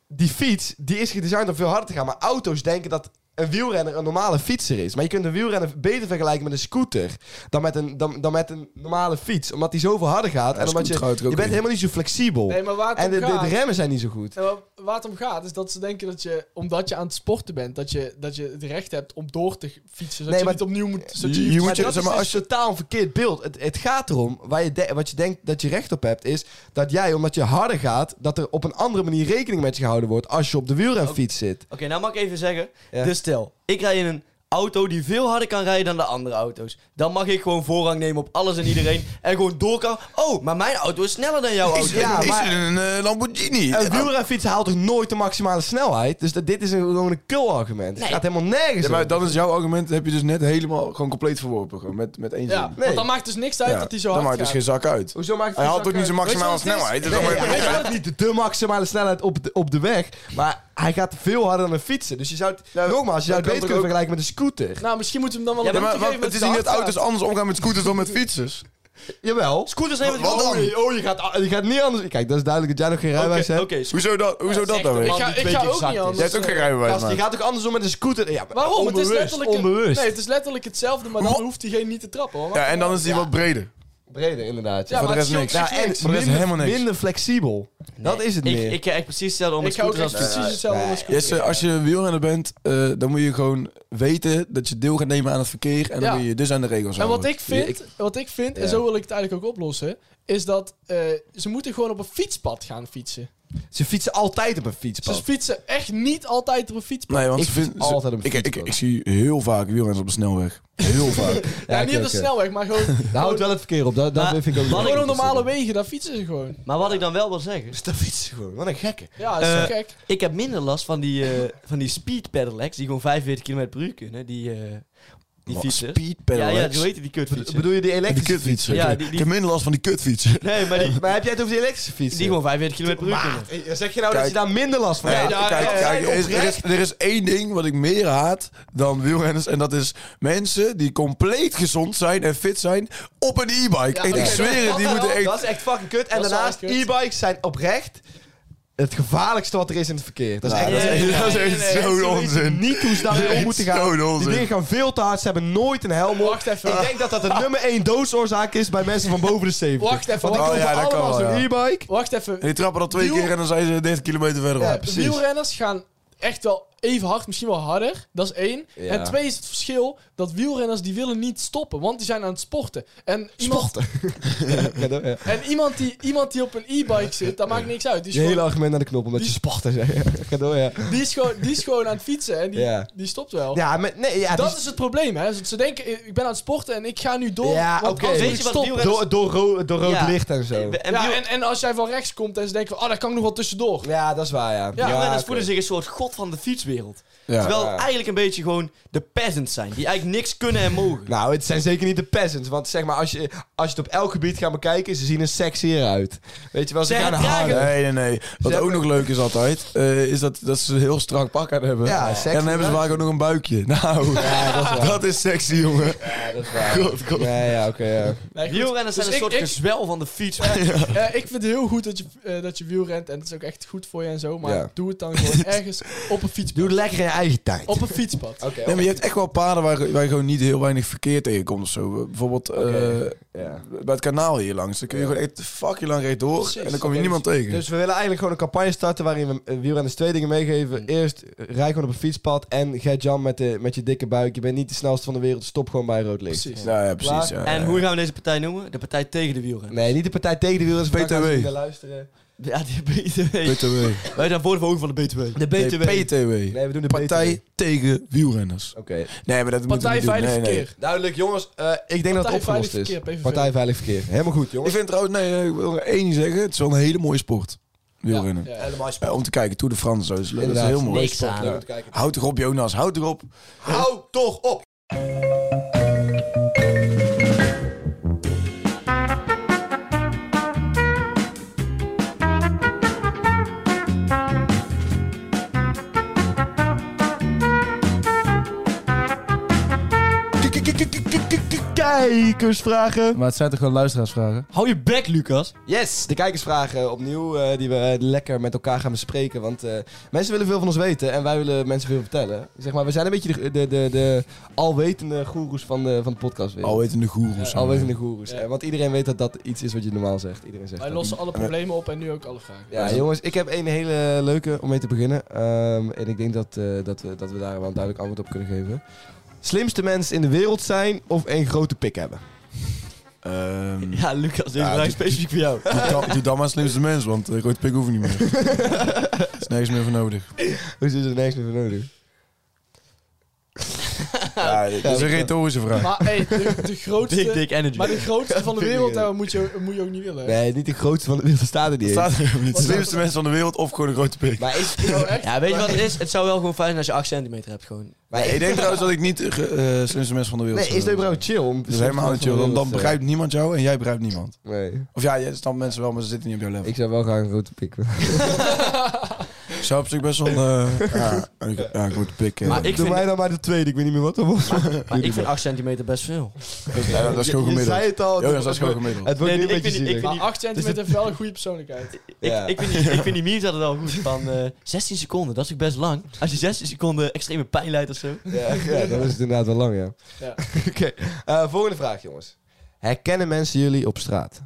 [SPEAKER 2] die fiets, die is gedesigned om veel harder te gaan. Maar auto's denken dat een wielrenner een normale fietser is. Maar je kunt een wielrenner beter vergelijken met een scooter dan met een, dan, dan met een normale fiets. Omdat die zoveel harder gaat.
[SPEAKER 3] Ja,
[SPEAKER 2] en omdat je,
[SPEAKER 3] scooter houdt er
[SPEAKER 2] je
[SPEAKER 3] ook
[SPEAKER 2] bent
[SPEAKER 3] in.
[SPEAKER 2] helemaal niet zo flexibel.
[SPEAKER 5] Nee, maar waar het
[SPEAKER 2] en
[SPEAKER 5] om
[SPEAKER 2] de, de- de
[SPEAKER 5] gaat-
[SPEAKER 2] remmen zijn niet zo goed.
[SPEAKER 5] Nee, maar waar het om gaat is dat ze denken dat je, omdat je aan het sporten bent, dat je, dat je het recht hebt om door te fietsen. Zodat
[SPEAKER 2] Nee,
[SPEAKER 5] je
[SPEAKER 2] maar-
[SPEAKER 5] niet opnieuw moet... Zodat
[SPEAKER 3] Je, je
[SPEAKER 2] Maar
[SPEAKER 3] moet je,
[SPEAKER 2] dat
[SPEAKER 3] zeg
[SPEAKER 2] is
[SPEAKER 3] maar,
[SPEAKER 2] dus
[SPEAKER 3] als je...
[SPEAKER 2] totaal een verkeerd beeld. Het, het gaat erom, waar je de- wat je denkt dat je recht op hebt, is dat jij, omdat je harder gaat, dat er op een andere manier rekening met je gehouden wordt als je op de wielrenfiets zit.
[SPEAKER 4] Oké, nou mag ik even zeggen.
[SPEAKER 2] Ja.
[SPEAKER 4] Dus stel, ik rij in een auto die veel harder kan rijden dan de andere auto's. Dan mag ik gewoon voorrang nemen op alles en iedereen.
[SPEAKER 5] (laughs)
[SPEAKER 4] en gewoon door kan. Oh, maar mijn auto is sneller dan jouw auto.
[SPEAKER 3] Is,
[SPEAKER 2] Ja,
[SPEAKER 3] is
[SPEAKER 2] maar-
[SPEAKER 3] er een eh, Lamborghini?
[SPEAKER 2] Een wielrenfiets haalt toch nooit de maximale snelheid? Dus dat, dit is een, gewoon een kul argument. Het
[SPEAKER 4] Nee.
[SPEAKER 2] gaat helemaal nergens
[SPEAKER 3] Ja, maar
[SPEAKER 2] om.
[SPEAKER 3] dat is jouw argument. Heb je dus net helemaal gewoon compleet verworpen. Gewoon met, met één zin.
[SPEAKER 5] Ja, want dan maakt dus niks uit
[SPEAKER 3] Ja,
[SPEAKER 5] dat hij zo
[SPEAKER 3] dan
[SPEAKER 5] hard
[SPEAKER 3] maakt dus
[SPEAKER 5] gaat.
[SPEAKER 3] geen zak uit.
[SPEAKER 2] Hoezo maakt het
[SPEAKER 3] Hij
[SPEAKER 2] geen
[SPEAKER 3] had ook
[SPEAKER 2] zak
[SPEAKER 3] niet zijn
[SPEAKER 2] uit?
[SPEAKER 3] maximale
[SPEAKER 5] Weet je wat het
[SPEAKER 3] snelheid.
[SPEAKER 5] is?
[SPEAKER 3] Dus dan
[SPEAKER 2] Nee,
[SPEAKER 3] moet je-
[SPEAKER 2] hij gaat niet de maximale snelheid op de, op de weg. Maar hij gaat veel harder dan een fietser. Dus je zou het,
[SPEAKER 3] Nou,
[SPEAKER 2] nogmaals, je zou het
[SPEAKER 3] dat
[SPEAKER 2] beter
[SPEAKER 3] kan
[SPEAKER 2] kunnen
[SPEAKER 3] toch
[SPEAKER 2] vergelijken met een scooter.
[SPEAKER 5] Nou, misschien moeten we hem dan
[SPEAKER 4] Ja,
[SPEAKER 5] wel
[SPEAKER 3] Ja,
[SPEAKER 5] een
[SPEAKER 3] maar
[SPEAKER 5] puntje
[SPEAKER 3] wat-
[SPEAKER 5] geven
[SPEAKER 3] het
[SPEAKER 5] met
[SPEAKER 3] is
[SPEAKER 5] de
[SPEAKER 3] niet dat
[SPEAKER 5] hard
[SPEAKER 3] auto's
[SPEAKER 5] gaat.
[SPEAKER 3] anders omgaan met scooters dan met fietsers.
[SPEAKER 2] Jawel.
[SPEAKER 4] Scooters nemen het
[SPEAKER 3] Wat
[SPEAKER 4] gewoon.
[SPEAKER 3] dan?
[SPEAKER 2] Oh, je- oh, je gaat, je gaat niet anders. Kijk, dat is duidelijk dat jij nog geen
[SPEAKER 4] Oké,
[SPEAKER 2] rijbewijs hebt.
[SPEAKER 4] oké, scooters.
[SPEAKER 3] Hoezo dat, hoezo dat dan
[SPEAKER 5] Ik
[SPEAKER 3] weer?
[SPEAKER 4] man
[SPEAKER 5] ga,
[SPEAKER 4] die
[SPEAKER 5] ik
[SPEAKER 4] twee
[SPEAKER 5] ga
[SPEAKER 4] keer
[SPEAKER 5] ook
[SPEAKER 4] zakt is.
[SPEAKER 5] niet anders.
[SPEAKER 3] Jij hebt ook geen
[SPEAKER 5] eh,
[SPEAKER 3] rijbewijs,
[SPEAKER 2] Gast, je
[SPEAKER 3] man.
[SPEAKER 2] gaat toch andersom met een scooter? Ja, maar
[SPEAKER 5] Waarom?
[SPEAKER 2] Onbewust,
[SPEAKER 5] het is letterlijk een-
[SPEAKER 2] onbewust.
[SPEAKER 5] Nee, het is letterlijk hetzelfde, maar dan hoeft diegene niet te trappen. Hoor.
[SPEAKER 3] Ja, en dan is die wat breder.
[SPEAKER 2] Breder, inderdaad.
[SPEAKER 5] Ja,
[SPEAKER 3] Voor de
[SPEAKER 5] maar
[SPEAKER 3] rest
[SPEAKER 5] het
[SPEAKER 3] niks.
[SPEAKER 5] scheelt
[SPEAKER 2] Nou,
[SPEAKER 5] zich
[SPEAKER 2] en
[SPEAKER 5] niks.
[SPEAKER 3] Maar dat is
[SPEAKER 2] minder-
[SPEAKER 3] helemaal niks.
[SPEAKER 2] Minder flexibel. Dat is het
[SPEAKER 4] Ik,
[SPEAKER 2] meer.
[SPEAKER 4] ik krijg precies hetzelfde om
[SPEAKER 5] Ik
[SPEAKER 4] met
[SPEAKER 5] ga ook
[SPEAKER 4] scooters
[SPEAKER 5] echt
[SPEAKER 4] als fietsen.
[SPEAKER 5] precies hetzelfde
[SPEAKER 2] nee.
[SPEAKER 5] als scooter.
[SPEAKER 3] Jesse, als je een wielrenner bent, eh, dan moet je gewoon weten dat je deel gaat nemen aan het verkeer. En dan
[SPEAKER 5] Ja.
[SPEAKER 3] moet je je dus aan de regels
[SPEAKER 5] En
[SPEAKER 3] houden.
[SPEAKER 5] wat ik vind, wat ik vind en
[SPEAKER 2] Ja.
[SPEAKER 5] zo wil ik het eigenlijk ook oplossen, is dat eh, ze moeten gewoon op een fietspad gaan fietsen.
[SPEAKER 2] Ze fietsen altijd op een
[SPEAKER 5] Ze
[SPEAKER 2] fietspad.
[SPEAKER 5] fietsen echt niet altijd op een fietspad.
[SPEAKER 3] Nee, want
[SPEAKER 2] Ik
[SPEAKER 3] ze
[SPEAKER 2] fiets
[SPEAKER 3] vinden- ze-
[SPEAKER 2] altijd op een
[SPEAKER 3] ik, ik,
[SPEAKER 2] fiets,
[SPEAKER 3] ik zie heel vaak wielrenners op de snelweg.
[SPEAKER 2] (laughs)
[SPEAKER 3] Heel vaak.
[SPEAKER 5] Ja,
[SPEAKER 2] Ja,
[SPEAKER 5] niet
[SPEAKER 2] oké,
[SPEAKER 5] op de
[SPEAKER 2] oké.
[SPEAKER 5] snelweg, maar gewoon,
[SPEAKER 2] Daar houdt wel het verkeer op. Dat, dat
[SPEAKER 4] Maar-
[SPEAKER 2] vind ik ook
[SPEAKER 4] Wat
[SPEAKER 5] gewoon
[SPEAKER 4] ik-
[SPEAKER 5] op (laughs) normale wegen, daar fietsen ze gewoon.
[SPEAKER 4] Maar wat ik dan wel wil zeggen.
[SPEAKER 2] Dus dat fietsen ze gewoon. Wat een gekke.
[SPEAKER 5] Ja, dat is toch
[SPEAKER 4] Eh,
[SPEAKER 5] gek.
[SPEAKER 4] Ik heb minder last van die, eh, van die speed pedelecs die gewoon 45 km per uur kunnen. Die, eh, die
[SPEAKER 3] Wat,
[SPEAKER 4] fietsen.
[SPEAKER 3] Speed
[SPEAKER 4] Ja,
[SPEAKER 3] pedelecs.
[SPEAKER 4] ja, hoe heet die kutfietsen?
[SPEAKER 2] Bedoel je die
[SPEAKER 3] Die
[SPEAKER 2] elektrische fiets?
[SPEAKER 3] kutfietsen.
[SPEAKER 4] Ja,
[SPEAKER 3] Ja,
[SPEAKER 4] die- die-
[SPEAKER 3] Ik heb minder last van die kutfietsen.
[SPEAKER 4] Nee,
[SPEAKER 2] (laughs)
[SPEAKER 4] maar die,
[SPEAKER 2] Maar heb jij het over die elektrische fietsen?
[SPEAKER 4] die gewoon 45 km per uur kunnen.
[SPEAKER 2] Maat, eh, zeg je nou dat
[SPEAKER 3] Kijk.
[SPEAKER 2] je daar minder last van
[SPEAKER 3] Nee,
[SPEAKER 2] hebt?
[SPEAKER 5] ja,
[SPEAKER 3] kijk,
[SPEAKER 5] ja,
[SPEAKER 3] kijk,
[SPEAKER 5] ja,
[SPEAKER 3] er, is, er, is,
[SPEAKER 5] oprecht.
[SPEAKER 3] er is één ding wat ik meer haat dan wielrenners. En dat is mensen die compleet gezond zijn en fit zijn op een e-bike.
[SPEAKER 5] Ja,
[SPEAKER 3] en
[SPEAKER 5] oké,
[SPEAKER 3] ik
[SPEAKER 5] dat-
[SPEAKER 3] zweer het, die moeten echt...
[SPEAKER 2] Dat is echt fucking kut. En
[SPEAKER 5] Dat is
[SPEAKER 2] daarnaast,
[SPEAKER 5] wel echt kut.
[SPEAKER 2] e-bikes zijn oprecht het gevaarlijkste wat er is in het verkeer. Dat is
[SPEAKER 3] Ja,
[SPEAKER 2] echt...
[SPEAKER 3] dat is echt-
[SPEAKER 4] Nee,
[SPEAKER 3] dat is
[SPEAKER 4] nee,
[SPEAKER 3] echt
[SPEAKER 4] nee,
[SPEAKER 3] zo'n
[SPEAKER 2] Mensen weten
[SPEAKER 3] onzin.
[SPEAKER 2] niet hoe ze daarmee om
[SPEAKER 3] Echt
[SPEAKER 2] moeten gaan.
[SPEAKER 3] zo'n
[SPEAKER 2] Die
[SPEAKER 3] onzin.
[SPEAKER 2] dingen gaan veel te hard. Ze hebben nooit een helm op.
[SPEAKER 5] Wacht even.
[SPEAKER 2] Ik denk dat dat de nummer één doodsoorzaak is bij mensen van boven de 70.
[SPEAKER 5] Wacht even,
[SPEAKER 2] Want ik
[SPEAKER 5] wacht-
[SPEAKER 2] koop
[SPEAKER 3] Oh ja, dat kan
[SPEAKER 2] allemaal
[SPEAKER 3] wel,
[SPEAKER 2] zo'n e-bike.
[SPEAKER 5] Wacht even.
[SPEAKER 3] En die trappen al twee
[SPEAKER 5] Wiel-
[SPEAKER 3] keer en dan zijn ze 30 kilometer verderop.
[SPEAKER 5] Eh, wielrenners gaan echt wel even hard, misschien wel harder. Dat is één.
[SPEAKER 2] Ja.
[SPEAKER 5] En twee is het verschil dat wielrenners die willen niet stoppen, want die zijn aan het sporten. En iemand,
[SPEAKER 2] Sporten. (laughs) Ja, dat- ja.
[SPEAKER 5] en iemand, die, iemand die op een e-bike zit, dat maakt niks uit. Die is,
[SPEAKER 2] Je hele
[SPEAKER 5] gewoon,
[SPEAKER 2] argument naar de knop, omdat je sporten zei. Ga door, ja.
[SPEAKER 5] die is, gewoon, die is gewoon aan het fietsen en die,
[SPEAKER 2] Ja.
[SPEAKER 5] die stopt wel.
[SPEAKER 2] Ja, maar nee, ja, dus
[SPEAKER 5] dat is het probleem, hè. Ze- Ze denken, eh, ik ben aan het sporten en ik ga nu door.
[SPEAKER 2] Ja,
[SPEAKER 5] want
[SPEAKER 2] oké.
[SPEAKER 5] anders moet
[SPEAKER 4] Weet je
[SPEAKER 5] ik
[SPEAKER 4] wat
[SPEAKER 5] stoppen.
[SPEAKER 4] wielren-
[SPEAKER 2] door, door, ro- door rood
[SPEAKER 4] Ja.
[SPEAKER 2] licht en zo.
[SPEAKER 4] En,
[SPEAKER 5] Ja,
[SPEAKER 4] wiel-
[SPEAKER 5] en, en als jij van rechts komt en ze denken, van, oh, daar kan ik nog wel tussendoor.
[SPEAKER 2] Ja, dat is waar, ja.
[SPEAKER 5] Ja,
[SPEAKER 4] wielrenners
[SPEAKER 2] oké.
[SPEAKER 4] voelen zich een soort god van de fietswereld.
[SPEAKER 3] Ja.
[SPEAKER 4] Terwijl
[SPEAKER 2] Ja.
[SPEAKER 4] eigenlijk een beetje gewoon de peasants zijn. Die eigenlijk niks kunnen en mogen.
[SPEAKER 2] Nou, het zijn zeker niet de peasants. Want zeg maar, als je, als je het op elk gebied gaat bekijken, ze zien er sexier uit. Weet je wel, ze
[SPEAKER 4] Zeg,
[SPEAKER 2] gaan
[SPEAKER 4] het dragen.
[SPEAKER 2] harder.
[SPEAKER 3] Nee, nee, nee. Wat
[SPEAKER 2] hebben-
[SPEAKER 3] ook nog leuk is altijd, eh, is dat, dat ze een heel strak pak aan hebben.
[SPEAKER 2] Ja,
[SPEAKER 3] en
[SPEAKER 2] sexy,
[SPEAKER 3] dan hebben ze
[SPEAKER 2] hè?
[SPEAKER 3] vaak ook nog een buikje. (laughs) Nou,
[SPEAKER 2] dat is
[SPEAKER 3] (laughs) dat,
[SPEAKER 2] waar.
[SPEAKER 3] is sexy, jongen.
[SPEAKER 2] Ja, dat is waar. (laughs)
[SPEAKER 3] God, God.
[SPEAKER 2] Nee, ja, oké, ja.
[SPEAKER 5] Nee, goed.
[SPEAKER 4] Wielrenners
[SPEAKER 5] Dus
[SPEAKER 4] zijn een
[SPEAKER 5] ik-
[SPEAKER 4] soort
[SPEAKER 5] ik-
[SPEAKER 4] gezwel van de fiets.
[SPEAKER 5] Eh, ik vind het heel goed dat je, eh, dat je wielrent en dat is ook echt goed voor je en zo, maar
[SPEAKER 2] Ja.
[SPEAKER 5] doe het
[SPEAKER 2] (laughs)
[SPEAKER 5] dan gewoon ergens op een fietspad.
[SPEAKER 2] Doe het lekker in je eigen tijd.
[SPEAKER 5] Op een fietspad.
[SPEAKER 2] Oké,
[SPEAKER 3] Nee, maar je hebt echt wel paden waar, waar je gewoon niet heel weinig verkeer tegenkomt of zo. Bijvoorbeeld eh,
[SPEAKER 2] Oké, ja.
[SPEAKER 3] bij het kanaal hier langs. Dan kun je
[SPEAKER 2] Ja.
[SPEAKER 3] gewoon echt fucking lang rechtdoor
[SPEAKER 5] Precies.
[SPEAKER 3] en dan kom je
[SPEAKER 2] Oké,
[SPEAKER 3] niemand tegen.
[SPEAKER 2] Dus we willen eigenlijk gewoon een campagne starten waarin we eh, wielrenners twee dingen meegeven. Eerst, eh, rij gewoon op een fietspad en get Jan met, de, met je dikke buik. Je bent niet de snelste van de wereld, stop gewoon bij rood licht.
[SPEAKER 5] Precies.
[SPEAKER 3] ja, ja, precies. Ja,
[SPEAKER 4] En
[SPEAKER 3] ja.
[SPEAKER 4] hoe gaan we deze partij noemen? De partij tegen de wielrenners.
[SPEAKER 2] Nee, niet de partij tegen de wielrenners. maar
[SPEAKER 3] BTW.
[SPEAKER 2] gaan ze niet naar luisteren.
[SPEAKER 4] Ja, de BTW.
[SPEAKER 3] BTW.
[SPEAKER 4] Wij zijn voor de verhoging van de BTW. De
[SPEAKER 3] Nee,
[SPEAKER 4] BTW.
[SPEAKER 3] PTW.
[SPEAKER 2] Nee, we doen de
[SPEAKER 3] Partij
[SPEAKER 2] BTW.
[SPEAKER 3] tegen wielrenners.
[SPEAKER 2] Oké.
[SPEAKER 3] Nee, maar dat moet
[SPEAKER 5] Partij Veilig
[SPEAKER 3] nee, nee.
[SPEAKER 5] Verkeer.
[SPEAKER 2] Duidelijk, jongens. eh, ik denk dat het
[SPEAKER 5] Partij
[SPEAKER 2] opgelost
[SPEAKER 5] Veilig
[SPEAKER 2] is.
[SPEAKER 5] Verkeer, PVV.
[SPEAKER 2] Partij Veilig Verkeer. Helemaal goed,
[SPEAKER 3] Ik
[SPEAKER 2] jongens.
[SPEAKER 3] vind trouwens, nee, eh, ik wil er één ding zeggen. Het is wel een hele mooie sport. Wielrennen.
[SPEAKER 5] Ja, ja.
[SPEAKER 2] Helemaal
[SPEAKER 3] Eh, om te kijken, Tour de France. zo, Dat is, dat is heel mooi.
[SPEAKER 1] Niks aan.
[SPEAKER 2] Ja. Kijken.
[SPEAKER 3] Houd toch op, Jonas. Houd toch op.
[SPEAKER 2] Hou toch op! Kijkersvragen.
[SPEAKER 3] Maar het zijn toch gewoon luisteraarsvragen?
[SPEAKER 4] Hou je bek, Lucas.
[SPEAKER 2] Yes, de kijkersvragen opnieuw, eh, die we eh, lekker met elkaar gaan bespreken. Want eh, mensen willen veel van ons weten en wij willen mensen veel vertellen. Zeg maar, we zijn een beetje de, de, de, de alwetende goeroes van de, van de podcast. weer.
[SPEAKER 3] Alwetende goeroes.
[SPEAKER 5] Ja,
[SPEAKER 2] alwetende goeroes.
[SPEAKER 5] Ja.
[SPEAKER 2] Eh, Want iedereen weet dat dat iets is wat je normaal zegt. Iedereen zegt
[SPEAKER 5] Wij
[SPEAKER 2] dat.
[SPEAKER 5] lossen alle problemen op en nu ook alle vragen.
[SPEAKER 2] Ja, jongens, ik heb een hele leuke om mee te beginnen. Ehm, en ik denk dat, eh, dat, we, dat we daar wel een duidelijk antwoord op kunnen geven. Slimste mens in de wereld zijn of één grote pik hebben?
[SPEAKER 3] Ehm,
[SPEAKER 4] Ja, Lucas, deze
[SPEAKER 3] Ja,
[SPEAKER 4] vraag is
[SPEAKER 3] dit-
[SPEAKER 4] specifiek voor jou.
[SPEAKER 3] doe, dan, doe dan maar slimste mens, want ik ooit pik hoef ik niet meer. Er is nergens meer voor nodig.
[SPEAKER 2] Hoe is er niks meer voor (laughs) nodig?
[SPEAKER 3] Ja, dit is een retorische vraag.
[SPEAKER 5] Maar hey, de,
[SPEAKER 2] (laughs)
[SPEAKER 5] de grootste...
[SPEAKER 4] Dik, dik energy.
[SPEAKER 5] Maar de grootste van
[SPEAKER 2] Vind
[SPEAKER 5] de
[SPEAKER 2] ik
[SPEAKER 5] wereld
[SPEAKER 2] niet.
[SPEAKER 5] daar moet je, moet je ook niet willen. hè?
[SPEAKER 2] Nee, niet de grootste van de wereld staat er
[SPEAKER 3] Het
[SPEAKER 2] niet
[SPEAKER 3] staat er niet.
[SPEAKER 5] Wat
[SPEAKER 3] Slimste mens van de wereld of gewoon een grote pik.
[SPEAKER 2] Maar is, (laughs)
[SPEAKER 5] Oh, echt?
[SPEAKER 4] Ja, weet je wat het is? Het zou wel gewoon fijn zijn als je 8 centimeter hebt. Gewoon.
[SPEAKER 2] maar
[SPEAKER 3] Nee,
[SPEAKER 2] is,
[SPEAKER 3] ik denk trouwens dat ik niet eh, ge- eh, slimste mens van de wereld
[SPEAKER 2] nee, is het überhaupt chill? om
[SPEAKER 3] Dat is helemaal niet chill. Dan, dan begrijpt niemand jou en jij begrijpt niemand.
[SPEAKER 2] Nee,
[SPEAKER 3] Of ja, jij snapt mensen wel, maar ze zitten niet op jouw level.
[SPEAKER 2] ik zou wel graag een grote pik willen.
[SPEAKER 3] Ik zou op zich best wel... eh, ja, ik- ja, een grote pik. eh.
[SPEAKER 4] Maar ik
[SPEAKER 2] Doe
[SPEAKER 4] vind-
[SPEAKER 2] mij dan maar de tweede, ik weet niet meer wat dat was.
[SPEAKER 4] Maar ik vind 8 centimeter best veel.
[SPEAKER 3] Ja, dat is gewoon
[SPEAKER 2] Je- je
[SPEAKER 3] gemiddeld.
[SPEAKER 2] zei het al.
[SPEAKER 3] Jonas, dat is gewoon gemiddeld.
[SPEAKER 2] Het wordt
[SPEAKER 4] Nee,
[SPEAKER 2] nu een
[SPEAKER 4] ik
[SPEAKER 2] beetje
[SPEAKER 4] vind- ik
[SPEAKER 2] zielig.
[SPEAKER 4] vind-
[SPEAKER 5] Maar 8 centimeter
[SPEAKER 4] (laughs)
[SPEAKER 5] heeft wel een goede persoonlijkheid.
[SPEAKER 2] Ja.
[SPEAKER 4] Ik, ik, vind die, ik vind die memes altijd wel goed. Van eh, 16 seconden, dat is ook best lang. Als je 16 seconden extreme pijn leidt of zo.
[SPEAKER 2] Ja, ja, dan is het inderdaad wel lang, ja.
[SPEAKER 5] Ja.
[SPEAKER 2] (laughs) Oké, eh, volgende vraag, jongens. Herkennen mensen jullie op straat?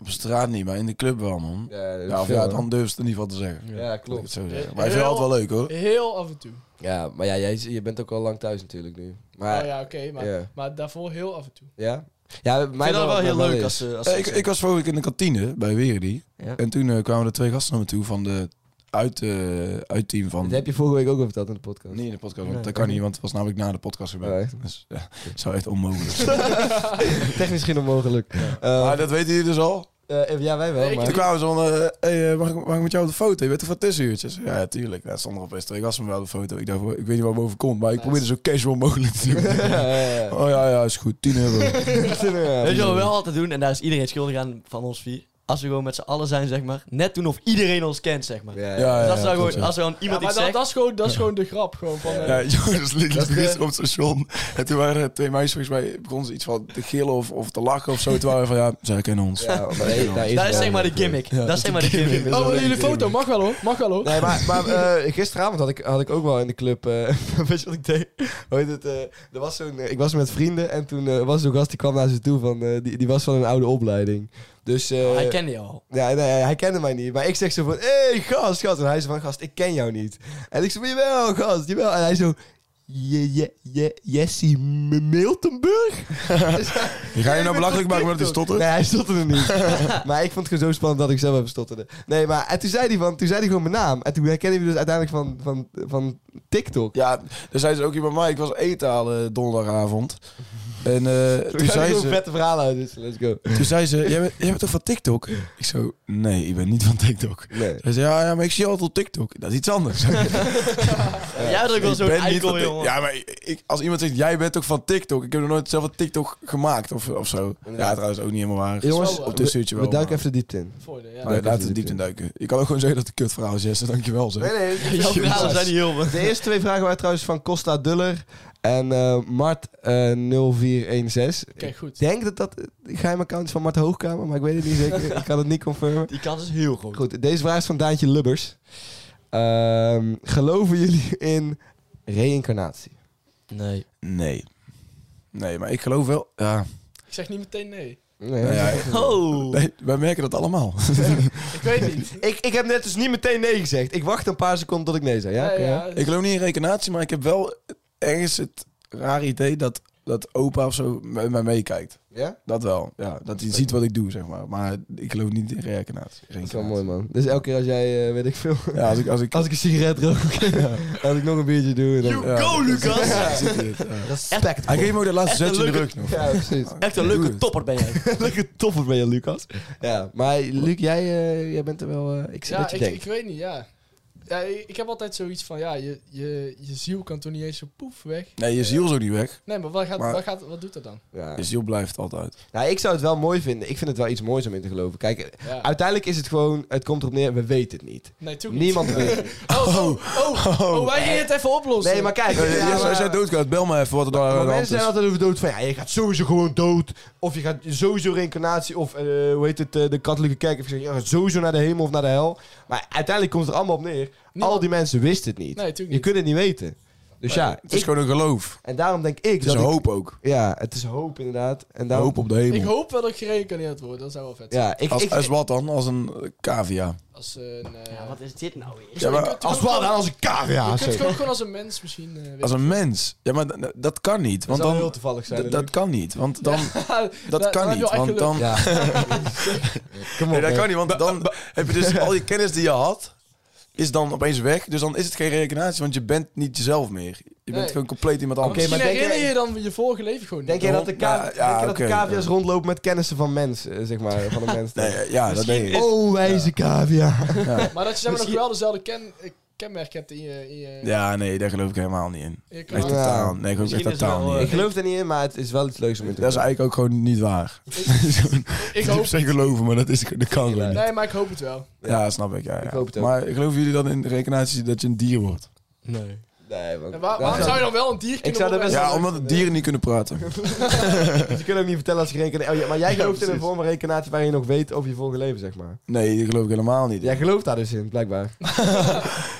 [SPEAKER 3] Op straat niet, maar in de club wel, man.
[SPEAKER 2] Ja,
[SPEAKER 3] Ja, of ja, dan durf je het in ieder geval te zeggen.
[SPEAKER 2] Ja,
[SPEAKER 3] Laat ik
[SPEAKER 2] klopt.
[SPEAKER 3] het zo zeggen.
[SPEAKER 5] Eh,
[SPEAKER 3] Maar ik vind het altijd wel leuk, hoor.
[SPEAKER 5] Heel af en toe.
[SPEAKER 2] Ja, maar ja, jij, je bent ook al lang thuis natuurlijk nu. Maar,
[SPEAKER 5] oh ja, oké, maar,
[SPEAKER 2] ja.
[SPEAKER 5] maar daarvoor heel af en toe.
[SPEAKER 2] Ja? Ja, mij
[SPEAKER 4] Ik vind dat wel
[SPEAKER 2] mij
[SPEAKER 4] heel leuk
[SPEAKER 2] eens.
[SPEAKER 4] als, eh, als
[SPEAKER 3] Eh, ik, ik was vorige week in de kantine bij Weredy.
[SPEAKER 2] Ja.
[SPEAKER 3] En toen eh, kwamen er twee gasten naar me toe van de uit, eh, uitteam van...
[SPEAKER 2] Dat heb je vorige week ook al verteld in de podcast.
[SPEAKER 3] Niet in de podcast, want
[SPEAKER 4] Nee.
[SPEAKER 3] dat kan niet, want het was namelijk na de podcast gebeurd. Dus ja, het zou echt onmogelijk zijn.
[SPEAKER 2] (laughs) (laughs) Technisch geen onmogelijk. Eh,
[SPEAKER 3] maar dat weten jullie dus al.
[SPEAKER 2] eh, ja, wij wel,
[SPEAKER 5] Ik-
[SPEAKER 2] maar...
[SPEAKER 3] Toen kwamen ze van, eh, hey, eh, mag, ik, mag ik met jou op de foto? Je bent er van tussenuurtjes. Ja, tuurlijk. Daar stonden er opeens twee gasten met mij op de foto. Ik dacht, ik weet niet waar boven komt, maar ik probeerde zo casual mogelijk te
[SPEAKER 2] (laughs) (laughs)
[SPEAKER 3] doen.
[SPEAKER 2] ja.
[SPEAKER 3] Oh ja, ja, is goed. 10 euro.
[SPEAKER 4] Weet je wat we wel altijd doen, en daar is iedereen schuldig aan van ons vier. Als we gewoon met z'n allen zijn, zeg maar. Net doen of iedereen ons kent, zeg maar.
[SPEAKER 2] Ja,
[SPEAKER 3] Ja, ja,
[SPEAKER 4] Dus als,
[SPEAKER 3] ja,
[SPEAKER 4] we dan
[SPEAKER 3] klopt,
[SPEAKER 4] gewoon,
[SPEAKER 3] ja.
[SPEAKER 4] als er gewoon
[SPEAKER 5] Ja,
[SPEAKER 4] iemand
[SPEAKER 5] maar
[SPEAKER 4] iets
[SPEAKER 5] dat,
[SPEAKER 4] zegt...
[SPEAKER 5] dat is, gewoon, dat is gewoon de grap. Gewoon van, eh,
[SPEAKER 3] Ja, (laughs) jongens, liep
[SPEAKER 2] Dat
[SPEAKER 3] ik
[SPEAKER 2] is de-
[SPEAKER 3] gisteren op het station. En toen waren er twee meisjes, volgens mij, begonnen ze iets van te gillen of, of te lachen of zo. Toen waren we van, ja, zij kennen ons.
[SPEAKER 2] Ja, maar nee, daar
[SPEAKER 4] Dat is
[SPEAKER 2] wel
[SPEAKER 4] zeg maar de
[SPEAKER 2] een
[SPEAKER 4] gimmick. Dat is zeg maar de gimmick.
[SPEAKER 5] Oh, willen jullie
[SPEAKER 2] leuk.
[SPEAKER 5] foto? Mag wel hoor. Mag wel hoor.
[SPEAKER 2] Nee, maar, maar eh, gisteravond had ik, had ik ook wel in de club. eh, (laughs) weet je wat ik deed? Hoe heet het? eh, er was zo'n, eh, ik was met vrienden en toen eh, was zo'n gast die kwam naar ze toe. Van, eh, die, die was van een oude opleiding. Dus eh,
[SPEAKER 4] Oh, Hij kende je al.
[SPEAKER 2] ja, nee, hij kende mij niet. Maar ik zeg zo van: hé, hey, gast, gast. En hij zei van: gast, ik ken jou niet. En ik zo: jawel, gast, jawel. En hij zo: je, je, je, Jesse M- Miltenburg? Dus hij-
[SPEAKER 3] Je (laughs) Ga je nou belachelijk maken
[SPEAKER 2] (laughs)
[SPEAKER 3] omdat hij
[SPEAKER 2] stottert?
[SPEAKER 3] stottert?
[SPEAKER 2] Nee, hij stotterde niet. (laughs) maar ik vond het gewoon zo spannend dat ik zelf even stotterde. Nee, maar en toen zei hij, van, toen zei hij gewoon mijn naam. En toen herkende hij me dus uiteindelijk van, van, van TikTok.
[SPEAKER 3] Ja, daar zei ze ook hier bij mij. Ik was eten halen donderdagavond. En eh, toen,
[SPEAKER 2] Toen
[SPEAKER 3] zei
[SPEAKER 2] een
[SPEAKER 3] ze,
[SPEAKER 2] vette verhaal uit, dus let's go.
[SPEAKER 3] toen zei ze, jij bent, jij bent toch van TikTok? Ik zo, nee, ik ben niet van TikTok.
[SPEAKER 2] Nee.
[SPEAKER 3] Hij zei, ja, ja, maar ik zie je altijd op TikTok. Dat is iets
[SPEAKER 4] (laughs)
[SPEAKER 3] anders.
[SPEAKER 4] Jij had ook wel
[SPEAKER 3] Ik
[SPEAKER 4] zo'n
[SPEAKER 3] ben niet
[SPEAKER 4] eikel,
[SPEAKER 3] van Tik-
[SPEAKER 4] jongen.
[SPEAKER 3] Ja, maar ik, als iemand zegt, jij bent toch van TikTok? Ik heb nog nooit zelf een TikTok gemaakt of, of zo. Ja, trouwens ook niet helemaal waar.
[SPEAKER 2] Jongens,
[SPEAKER 5] wel
[SPEAKER 3] op dit stuurtje wel.
[SPEAKER 2] we duiken
[SPEAKER 3] maar-
[SPEAKER 2] even de diepte in.
[SPEAKER 5] Voor de, ja.
[SPEAKER 3] Maar
[SPEAKER 2] duiken
[SPEAKER 3] laten
[SPEAKER 2] even
[SPEAKER 3] we diep in duiken. Ik kan ook gewoon zeggen dat het een kutverhaal is, Jesse. Dankjewel, zeg.
[SPEAKER 2] nee.
[SPEAKER 3] (laughs)
[SPEAKER 4] (laughs) Jouw verhalen zijn niet heel veel.
[SPEAKER 2] De eerste twee vragen waren trouwens van Costa Duller en eh, Mart eh, 0416.
[SPEAKER 5] Oké,
[SPEAKER 2] Ik
[SPEAKER 5] goed.
[SPEAKER 2] denk dat dat een geheim account is van Mart Hoogkamer, maar ik weet het niet
[SPEAKER 3] (laughs)
[SPEAKER 2] zeker. ik kan het niet confirmen.
[SPEAKER 4] Die kans is heel groot.
[SPEAKER 2] Goed, deze vraag is van Daantje Lubbers. Ehm, geloven jullie in reïncarnatie?
[SPEAKER 4] Nee.
[SPEAKER 3] Nee. Nee, maar ik geloof wel... Ja,
[SPEAKER 5] Ik zeg niet meteen nee.
[SPEAKER 2] Nee,
[SPEAKER 3] nou ja,
[SPEAKER 4] Oh.
[SPEAKER 3] nee, wij merken dat allemaal.
[SPEAKER 5] Ik (laughs) weet niet.
[SPEAKER 2] Ik, ik heb net dus niet meteen nee gezegd. Ik wacht een paar seconden tot ik nee zei. Ja,
[SPEAKER 5] Ja,
[SPEAKER 2] Oké,
[SPEAKER 5] ja. Dus-
[SPEAKER 3] Ik geloof niet in rekenatie, maar ik heb wel ergens het rare idee dat, dat opa of zo met mij meekijkt.
[SPEAKER 2] Ja?
[SPEAKER 3] Dat wel, ja. Dat hij ziet wat ik doe, zeg maar. Maar ik geloof niet in reïncarnatie.
[SPEAKER 2] Dat is wel mooi, man. Dus elke keer als jij, eh, weet ik veel...
[SPEAKER 3] Ja, als ik... Als
[SPEAKER 2] (laughs)
[SPEAKER 3] ik
[SPEAKER 2] Als ik een sigaret rook, (laughs) als ik nog een biertje doe... Dan...
[SPEAKER 4] You
[SPEAKER 3] Ja.
[SPEAKER 4] go, Lucas!
[SPEAKER 3] Ja, zit dit, ja.
[SPEAKER 2] Respect.
[SPEAKER 3] Hij geeft me ook dat laatste
[SPEAKER 4] Echt een
[SPEAKER 3] zetje in de
[SPEAKER 4] leuke-
[SPEAKER 3] rug nog.
[SPEAKER 2] Ja, precies.
[SPEAKER 4] Echt een
[SPEAKER 3] Doe
[SPEAKER 4] leuke
[SPEAKER 3] het.
[SPEAKER 4] topper ben jij.
[SPEAKER 2] (laughs) Lekker toffer ben je, Lucas. Ja, maar Luc, jij, eh, jij bent er wel... eh, ik zie
[SPEAKER 5] Ja,
[SPEAKER 2] dat je
[SPEAKER 5] ik,
[SPEAKER 2] denkt.
[SPEAKER 5] ik weet niet, ja. ja, ik heb altijd zoiets van, ja, je, je, je ziel kan toch niet eens zo poef weg.
[SPEAKER 3] Nee, je ziel is ook niet weg.
[SPEAKER 5] Nee, maar wat, gaat,
[SPEAKER 3] Maar-
[SPEAKER 5] wat, gaat, wat doet dat dan?
[SPEAKER 2] Ja.
[SPEAKER 3] Je ziel blijft altijd.
[SPEAKER 2] Nou, ik zou het wel mooi vinden. Ik vind het wel iets moois om in te geloven. Kijk,
[SPEAKER 5] Ja.
[SPEAKER 2] uiteindelijk is het gewoon, het komt erop neer, we weten het niet.
[SPEAKER 5] Nee, toch niet.
[SPEAKER 2] Niemand weet (laughs) het.
[SPEAKER 5] Oh, oh, oh, oh, wij gingen het even oplossen.
[SPEAKER 2] Nee, maar kijk.
[SPEAKER 3] Ja,
[SPEAKER 2] ja, maar-
[SPEAKER 3] als jij doodgaat, bel me even wat er daar aan
[SPEAKER 2] maar
[SPEAKER 3] de hand
[SPEAKER 2] mensen
[SPEAKER 3] is.
[SPEAKER 2] zijn altijd over dood van, ja, je gaat sowieso gewoon dood. Of je gaat sowieso reïncarnatie, of eh, hoe heet het, eh, de katholieke kerk. Of je gaat sowieso naar de hemel of naar de hel. Maar uiteindelijk komt het er allemaal op neer.
[SPEAKER 5] Niemand-
[SPEAKER 2] Al die mensen wisten het niet.
[SPEAKER 5] Nee, natuurlijk
[SPEAKER 2] je
[SPEAKER 5] niet.
[SPEAKER 2] kunt het niet weten. Dus ja,
[SPEAKER 3] Het is
[SPEAKER 2] ik-
[SPEAKER 3] gewoon een geloof.
[SPEAKER 2] en daarom denk ik
[SPEAKER 3] Het is
[SPEAKER 2] dat ik- Nou,
[SPEAKER 3] hoop ook.
[SPEAKER 2] Ja, het is hoop inderdaad. En daarom,
[SPEAKER 3] Hoop op de hemel.
[SPEAKER 5] Ik hoop wel dat ik gereïncarneerd word, dat zou wel vet zijn.
[SPEAKER 2] Ja, ik...
[SPEAKER 3] als,
[SPEAKER 2] ik,
[SPEAKER 3] als wat dan? Als een eh, cavia.
[SPEAKER 5] Als een... eh,
[SPEAKER 4] Ja, wat is dit nou weer?
[SPEAKER 3] Ja, maar
[SPEAKER 5] kunt
[SPEAKER 3] als,
[SPEAKER 2] wat dan? Als een
[SPEAKER 5] je
[SPEAKER 2] cavia.
[SPEAKER 5] kunt
[SPEAKER 2] sorry.
[SPEAKER 5] het ook gewoon als een mens misschien... eh,
[SPEAKER 3] als een mens. Ja, maar d- dat kan niet.
[SPEAKER 2] Dat
[SPEAKER 3] Want
[SPEAKER 2] zou
[SPEAKER 3] dan,
[SPEAKER 2] heel toevallig zijn.
[SPEAKER 3] d- dat kan niet. Want dan, dat
[SPEAKER 5] daar- daar
[SPEAKER 3] kan
[SPEAKER 5] heb je
[SPEAKER 3] niet.
[SPEAKER 5] wel
[SPEAKER 3] Want
[SPEAKER 5] echt
[SPEAKER 3] dan,
[SPEAKER 2] Ja. Kom op.
[SPEAKER 3] nee, dat
[SPEAKER 2] hè.
[SPEAKER 3] kan niet. Want dan heb je (laughs) dus al je kennis die je had, is dan opeens weg. Dus dan is het geen reïncarnatie, want je bent niet jezelf meer. Je bent
[SPEAKER 5] Nee.
[SPEAKER 3] gewoon compleet iemand
[SPEAKER 2] Oké,
[SPEAKER 3] anders.
[SPEAKER 5] Misschien
[SPEAKER 2] maar denk
[SPEAKER 5] herinner
[SPEAKER 2] jij-
[SPEAKER 5] je dan je vorige leven gewoon
[SPEAKER 2] Denk
[SPEAKER 5] niet.
[SPEAKER 2] jij dat de,
[SPEAKER 3] Ja,
[SPEAKER 2] ka-
[SPEAKER 3] ja,
[SPEAKER 2] denk je dat de
[SPEAKER 3] oké,
[SPEAKER 2] cavia's rondlopen met kennissen van mensen, zeg maar, van een mens?
[SPEAKER 3] (laughs) Nee, ja, dat denk ik.
[SPEAKER 2] Oh, wijze cavia.
[SPEAKER 5] Maar dat je zeg maar, nog
[SPEAKER 2] Misschien-
[SPEAKER 5] wel dezelfde ken, eh, kenmerk hebt in je... In je,
[SPEAKER 3] Ja, nee, daar geloof ik helemaal niet in.
[SPEAKER 5] in je
[SPEAKER 3] Echt
[SPEAKER 5] karakter.
[SPEAKER 2] Ja.
[SPEAKER 3] totaal. Nee, geloof ik echt
[SPEAKER 4] Misschien is het
[SPEAKER 3] totaal
[SPEAKER 4] wel,
[SPEAKER 3] niet.
[SPEAKER 4] eh,
[SPEAKER 3] in.
[SPEAKER 2] Ik geloof er niet in, maar het is wel iets leuks om in te
[SPEAKER 3] Dat is
[SPEAKER 2] doen.
[SPEAKER 3] eigenlijk ook gewoon niet waar. (laughs)
[SPEAKER 5] Ik
[SPEAKER 3] Ik
[SPEAKER 5] hoop...
[SPEAKER 3] heb ze geloven, maar dat is dat kan gewoon niet.
[SPEAKER 5] Nee, maar ik hoop het wel.
[SPEAKER 3] Ja, snap ik. Ja, ja.
[SPEAKER 2] Ik hoop het ook.
[SPEAKER 3] maar geloven jullie dan in rekenatie dat je een dier wordt?
[SPEAKER 4] Nee.
[SPEAKER 2] Nee, want...
[SPEAKER 5] En waar- waarom zou je dan wel een dier kunnen
[SPEAKER 2] zou dat
[SPEAKER 5] worden?
[SPEAKER 2] best-
[SPEAKER 3] Ja, omdat dieren niet kunnen praten.
[SPEAKER 2] Dus (laughs) je kunt ook niet vertellen als je rekenen... Oh, ja, maar jij gelooft in een vorm van rekenatie waarin je nog weet over je vorige leven, zeg maar.
[SPEAKER 3] Nee, dat geloof ik helemaal niet.
[SPEAKER 2] Jij gelooft daar dus in, blijkbaar.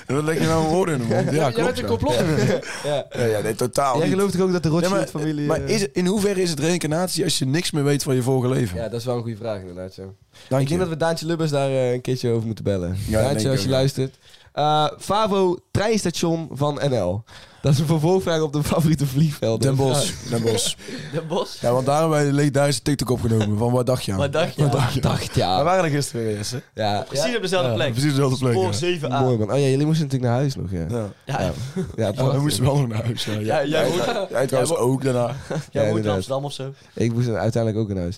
[SPEAKER 3] Wat leg je nou woorden in de mond? Ja,
[SPEAKER 5] Jij bent
[SPEAKER 3] klopt.
[SPEAKER 5] een
[SPEAKER 3] ja.
[SPEAKER 5] complot.
[SPEAKER 2] Ja.
[SPEAKER 3] Ja, ja, nee, totaal
[SPEAKER 2] Jij
[SPEAKER 3] niet.
[SPEAKER 2] gelooft toch ook dat de
[SPEAKER 3] Ja, maar
[SPEAKER 2] Rothschild-familie...
[SPEAKER 3] maar
[SPEAKER 2] eh,
[SPEAKER 3] is, het- in hoeverre is het reïncarnatie als je niks meer weet van je vorige leven?
[SPEAKER 2] Ja, dat is wel een goede vraag inderdaad, zo.
[SPEAKER 3] Dank
[SPEAKER 2] Ik
[SPEAKER 3] je.
[SPEAKER 2] denk dat we Daantje Lubbers daar eh, een keertje over moeten bellen.
[SPEAKER 3] Ja, denk ik
[SPEAKER 2] Daantje, als
[SPEAKER 3] ook,
[SPEAKER 2] je
[SPEAKER 3] ja.
[SPEAKER 2] luistert. Eh, Favo, treinstation van NL. Dat is een vervolgvraag op de favoriete vliegvelden.
[SPEAKER 3] Den Bos. Den Bos.
[SPEAKER 4] De bos?
[SPEAKER 3] Ja, want daar hebben wij een legendarische TikTok opgenomen. Van wat dacht je aan?
[SPEAKER 4] Wat dacht je?
[SPEAKER 2] Ja, dacht, dacht
[SPEAKER 3] We
[SPEAKER 2] ja.
[SPEAKER 3] waren er gisteren weer eens. hè?
[SPEAKER 2] ja.
[SPEAKER 4] Precies op dezelfde
[SPEAKER 3] Ja,
[SPEAKER 4] plek.
[SPEAKER 3] Precies dezelfde plek.
[SPEAKER 4] Voor
[SPEAKER 3] ja.
[SPEAKER 4] 7a.
[SPEAKER 2] Mooi man. Oh ja, jullie moesten natuurlijk naar huis nog, ja.
[SPEAKER 3] Ja.
[SPEAKER 4] Ja,
[SPEAKER 2] Ja. Ja,
[SPEAKER 3] Ja, we moesten wel nog naar huis. Ja,
[SPEAKER 4] Ja, jij moet-
[SPEAKER 3] Jij trouwens ook daarna.
[SPEAKER 4] jij moet in
[SPEAKER 2] inderdaad.
[SPEAKER 4] Amsterdam of zo.
[SPEAKER 2] Ik moest uiteindelijk ook naar huis.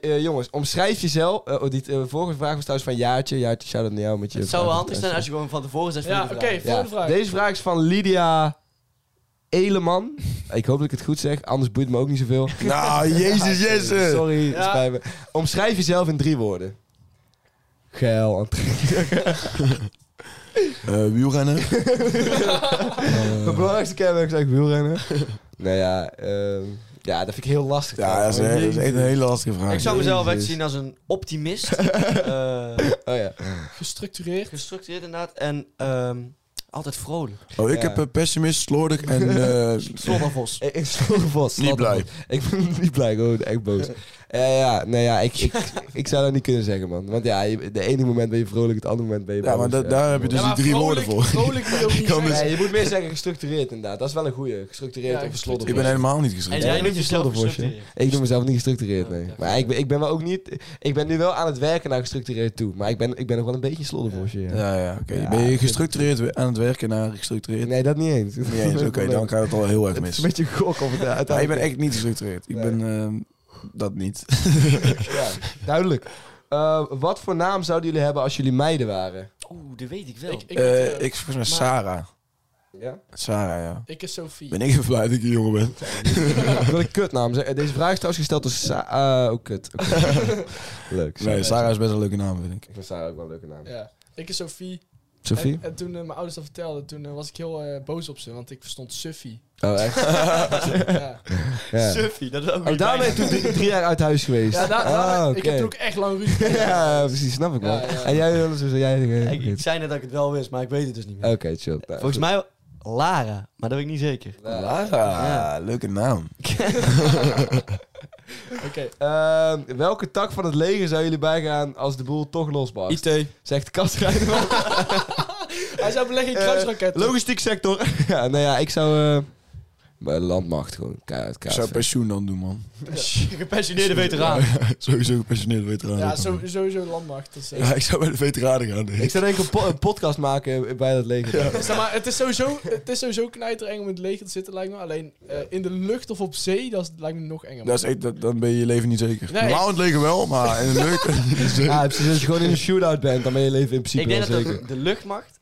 [SPEAKER 2] Eh, eh, jongens, omschrijf jezelf. eh, oh, die eh, vorige vraag was trouwens van Jaartje. Jaartje, shout-out naar jou met je
[SPEAKER 4] Het zou wel
[SPEAKER 2] vraag.
[SPEAKER 4] handig zijn als je gewoon van tevoren zegt...
[SPEAKER 5] Ja,
[SPEAKER 4] van die
[SPEAKER 5] oké,
[SPEAKER 4] vraag.
[SPEAKER 2] Ja.
[SPEAKER 5] volgende vraag.
[SPEAKER 2] Deze vraag is van Lydia Eleman. Ik hoop dat ik het goed zeg, anders boeit het me ook niet zoveel.
[SPEAKER 3] Nou, jezus, jezus.
[SPEAKER 2] Sorry, het
[SPEAKER 5] Ja.
[SPEAKER 2] spijt me. Omschrijf jezelf in drie woorden. Geil,
[SPEAKER 3] (laughs) Eh, wielrennen.
[SPEAKER 2] Het belangrijkste kenmerk is eigenlijk wielrennen. (laughs) nou ja, ehm, ja, dat vind ik heel lastig.
[SPEAKER 3] Ja, dat is,
[SPEAKER 2] trouwens.
[SPEAKER 3] echt- dat is echt een hele lastige vraag.
[SPEAKER 4] Ik zou mezelf
[SPEAKER 2] Jezus.
[SPEAKER 4] echt zien als een
[SPEAKER 2] (laughs)
[SPEAKER 4] optimist. eh,
[SPEAKER 2] Oh ja.
[SPEAKER 5] Gestructureerd.
[SPEAKER 4] gestructureerd inderdaad. En ehm, altijd vrolijk.
[SPEAKER 3] Oh, ik
[SPEAKER 2] Ja.
[SPEAKER 3] heb eh, pessimist, slordig en... eh,
[SPEAKER 2] (laughs)
[SPEAKER 4] Slobbervos.
[SPEAKER 2] Ik, ik sloeg vast.
[SPEAKER 3] Niet blij.
[SPEAKER 2] Ik (laughs) ben niet blij, gewoon echt boos. Eh, ja, nou ja, ik, ik, ik zou dat niet kunnen zeggen, man. Want ja, je- de ene moment ben je vrolijk, het andere moment ben je
[SPEAKER 3] Ja,
[SPEAKER 2] boos.
[SPEAKER 3] maar da- daar heb je dus-
[SPEAKER 5] Ja, maar
[SPEAKER 3] die drie
[SPEAKER 5] vrolijk-
[SPEAKER 3] woorden voor.
[SPEAKER 5] Vrolijk
[SPEAKER 3] (laughs)
[SPEAKER 5] wil je ook niet
[SPEAKER 3] kan
[SPEAKER 5] zeggen.
[SPEAKER 2] Nee, je moet meer zeggen gestructureerd inderdaad. Dat is wel een goeie. Gestructureerd
[SPEAKER 5] Ja,
[SPEAKER 2] of gesloten.
[SPEAKER 3] ik ben helemaal niet geschreven.
[SPEAKER 4] En
[SPEAKER 2] Ja,
[SPEAKER 4] jij
[SPEAKER 2] ik
[SPEAKER 4] noemt
[SPEAKER 2] ben
[SPEAKER 4] jezelf
[SPEAKER 2] slobbervos, hè.
[SPEAKER 4] gestructureerd.
[SPEAKER 2] Ik noem mezelf niet gestructureerd, nee.
[SPEAKER 4] Ja,
[SPEAKER 2] Maar ik ben, ik ben wel ook niet... Ik ben nu wel aan het werken naar gestructureerd toe. Maar ik ben, ik ben nog wel een beetje sloddervosje, ja.
[SPEAKER 3] Ja, ja, oké.
[SPEAKER 2] Ja,
[SPEAKER 3] ben je
[SPEAKER 2] ik-
[SPEAKER 3] gestructureerd we- aan het werken naar gestructureerd?
[SPEAKER 2] Nee, (laughs) dat niet eens.
[SPEAKER 3] Niet eens, Oké, dan kan het al heel erg
[SPEAKER 2] Het is
[SPEAKER 3] mis.
[SPEAKER 2] een beetje een gok of het eh,
[SPEAKER 3] (laughs) Ja, ik ben
[SPEAKER 2] uiteindelijk...
[SPEAKER 3] echt niet gestructureerd. Ik
[SPEAKER 2] Nee.
[SPEAKER 3] ben ehm, dat niet.
[SPEAKER 2] (laughs) Ja, duidelijk. Eh, wat voor naam zouden jullie hebben als jullie meiden waren?
[SPEAKER 4] Oeh, dat weet ik wel. (laughs)
[SPEAKER 5] Ik, ik,
[SPEAKER 3] Eh,
[SPEAKER 5] eh,
[SPEAKER 3] ik volgens mij Sarah.
[SPEAKER 2] Ja?
[SPEAKER 3] Sarah, ja.
[SPEAKER 5] ik is Sophie.
[SPEAKER 3] Ben ik even blij dat ik een jongen ben.
[SPEAKER 2] Ik (laughs) wil een kutnaam zeggen. Eh, Deze vraag is trouwens gesteld door Sa... eh, oh, kut. Oké.
[SPEAKER 3] (laughs)
[SPEAKER 2] Leuk.
[SPEAKER 3] Nee, Sarah is best een leuke naam, vind ik.
[SPEAKER 2] Ik vind Sarah ook wel een leuke naam.
[SPEAKER 5] Ja. Ik is Sophie.
[SPEAKER 2] Sophie?
[SPEAKER 5] En, en toen eh, mijn ouders dat vertelden, toen eh, was ik heel eh, boos op ze, want ik verstond
[SPEAKER 2] (laughs)
[SPEAKER 5] Suffie.
[SPEAKER 2] Oh, echt?
[SPEAKER 5] ja.
[SPEAKER 2] Ja.
[SPEAKER 4] Suffie, dat is ook
[SPEAKER 2] Oh, daar ben je toen drie, drie jaar uit huis geweest.
[SPEAKER 5] Ja, daar, daar-
[SPEAKER 2] Ah,
[SPEAKER 5] Ik
[SPEAKER 2] oké.
[SPEAKER 5] heb toen ook echt lang ruzie.
[SPEAKER 2] (laughs) Ja, precies, snap ik wel.
[SPEAKER 5] Ja, ja.
[SPEAKER 2] En jij, Jonas, hoe zou jij zeggen?
[SPEAKER 4] Ik, ik zei net dat ik het wel wist, maar ik weet het dus niet meer.
[SPEAKER 2] Oké, chill. Nou,
[SPEAKER 4] Volgens
[SPEAKER 2] goed.
[SPEAKER 4] mij Lara, maar dat weet ik niet zeker.
[SPEAKER 3] Lara,
[SPEAKER 4] Ja.
[SPEAKER 3] Ah, leuke naam.
[SPEAKER 5] Oké.
[SPEAKER 2] Ehm, welke tak van het leger zou jullie bijgaan als de boel toch losbarst?
[SPEAKER 4] IT.
[SPEAKER 2] Zegt
[SPEAKER 4] (laughs)
[SPEAKER 2] Kastrijder.
[SPEAKER 5] Hij zou beleggen
[SPEAKER 2] Eh,
[SPEAKER 5] in kruisraketten.
[SPEAKER 2] Logistiek sector. (laughs) ja, nou ja, ik zou... eh, bij landmacht gewoon, keihard
[SPEAKER 3] Ik zou
[SPEAKER 2] kaart.
[SPEAKER 3] pensioen dan doen, man. (laughs)
[SPEAKER 4] Gepensioneerde veteraan.
[SPEAKER 3] Sowieso gepensioneerd veteraan.
[SPEAKER 5] ja, zo- sowieso landmacht. Dat is, eh,
[SPEAKER 3] Ja, ik zou bij de veteranen gaan. denk ik.
[SPEAKER 2] Ik zou denk ik een, po- een podcast maken bij dat leger. Ah,
[SPEAKER 5] Zeg maar, het is sowieso, het is sowieso knijtereng om in het leger te zitten, lijkt me. Alleen eh, in de lucht of op zee, dat is- lijkt me nog enger.
[SPEAKER 3] Dat is echt- dat- dan ben je je leven niet zeker.
[SPEAKER 5] Nee.
[SPEAKER 3] Normaal in het leger wel, maar
[SPEAKER 2] (laughs)
[SPEAKER 3] in het leuk.
[SPEAKER 2] Ja, precies. Als je gewoon in een shootout bent, dan ben je leven in principe
[SPEAKER 4] Ik denk
[SPEAKER 2] wel
[SPEAKER 4] dat
[SPEAKER 2] zeker.
[SPEAKER 4] de, de luchtmacht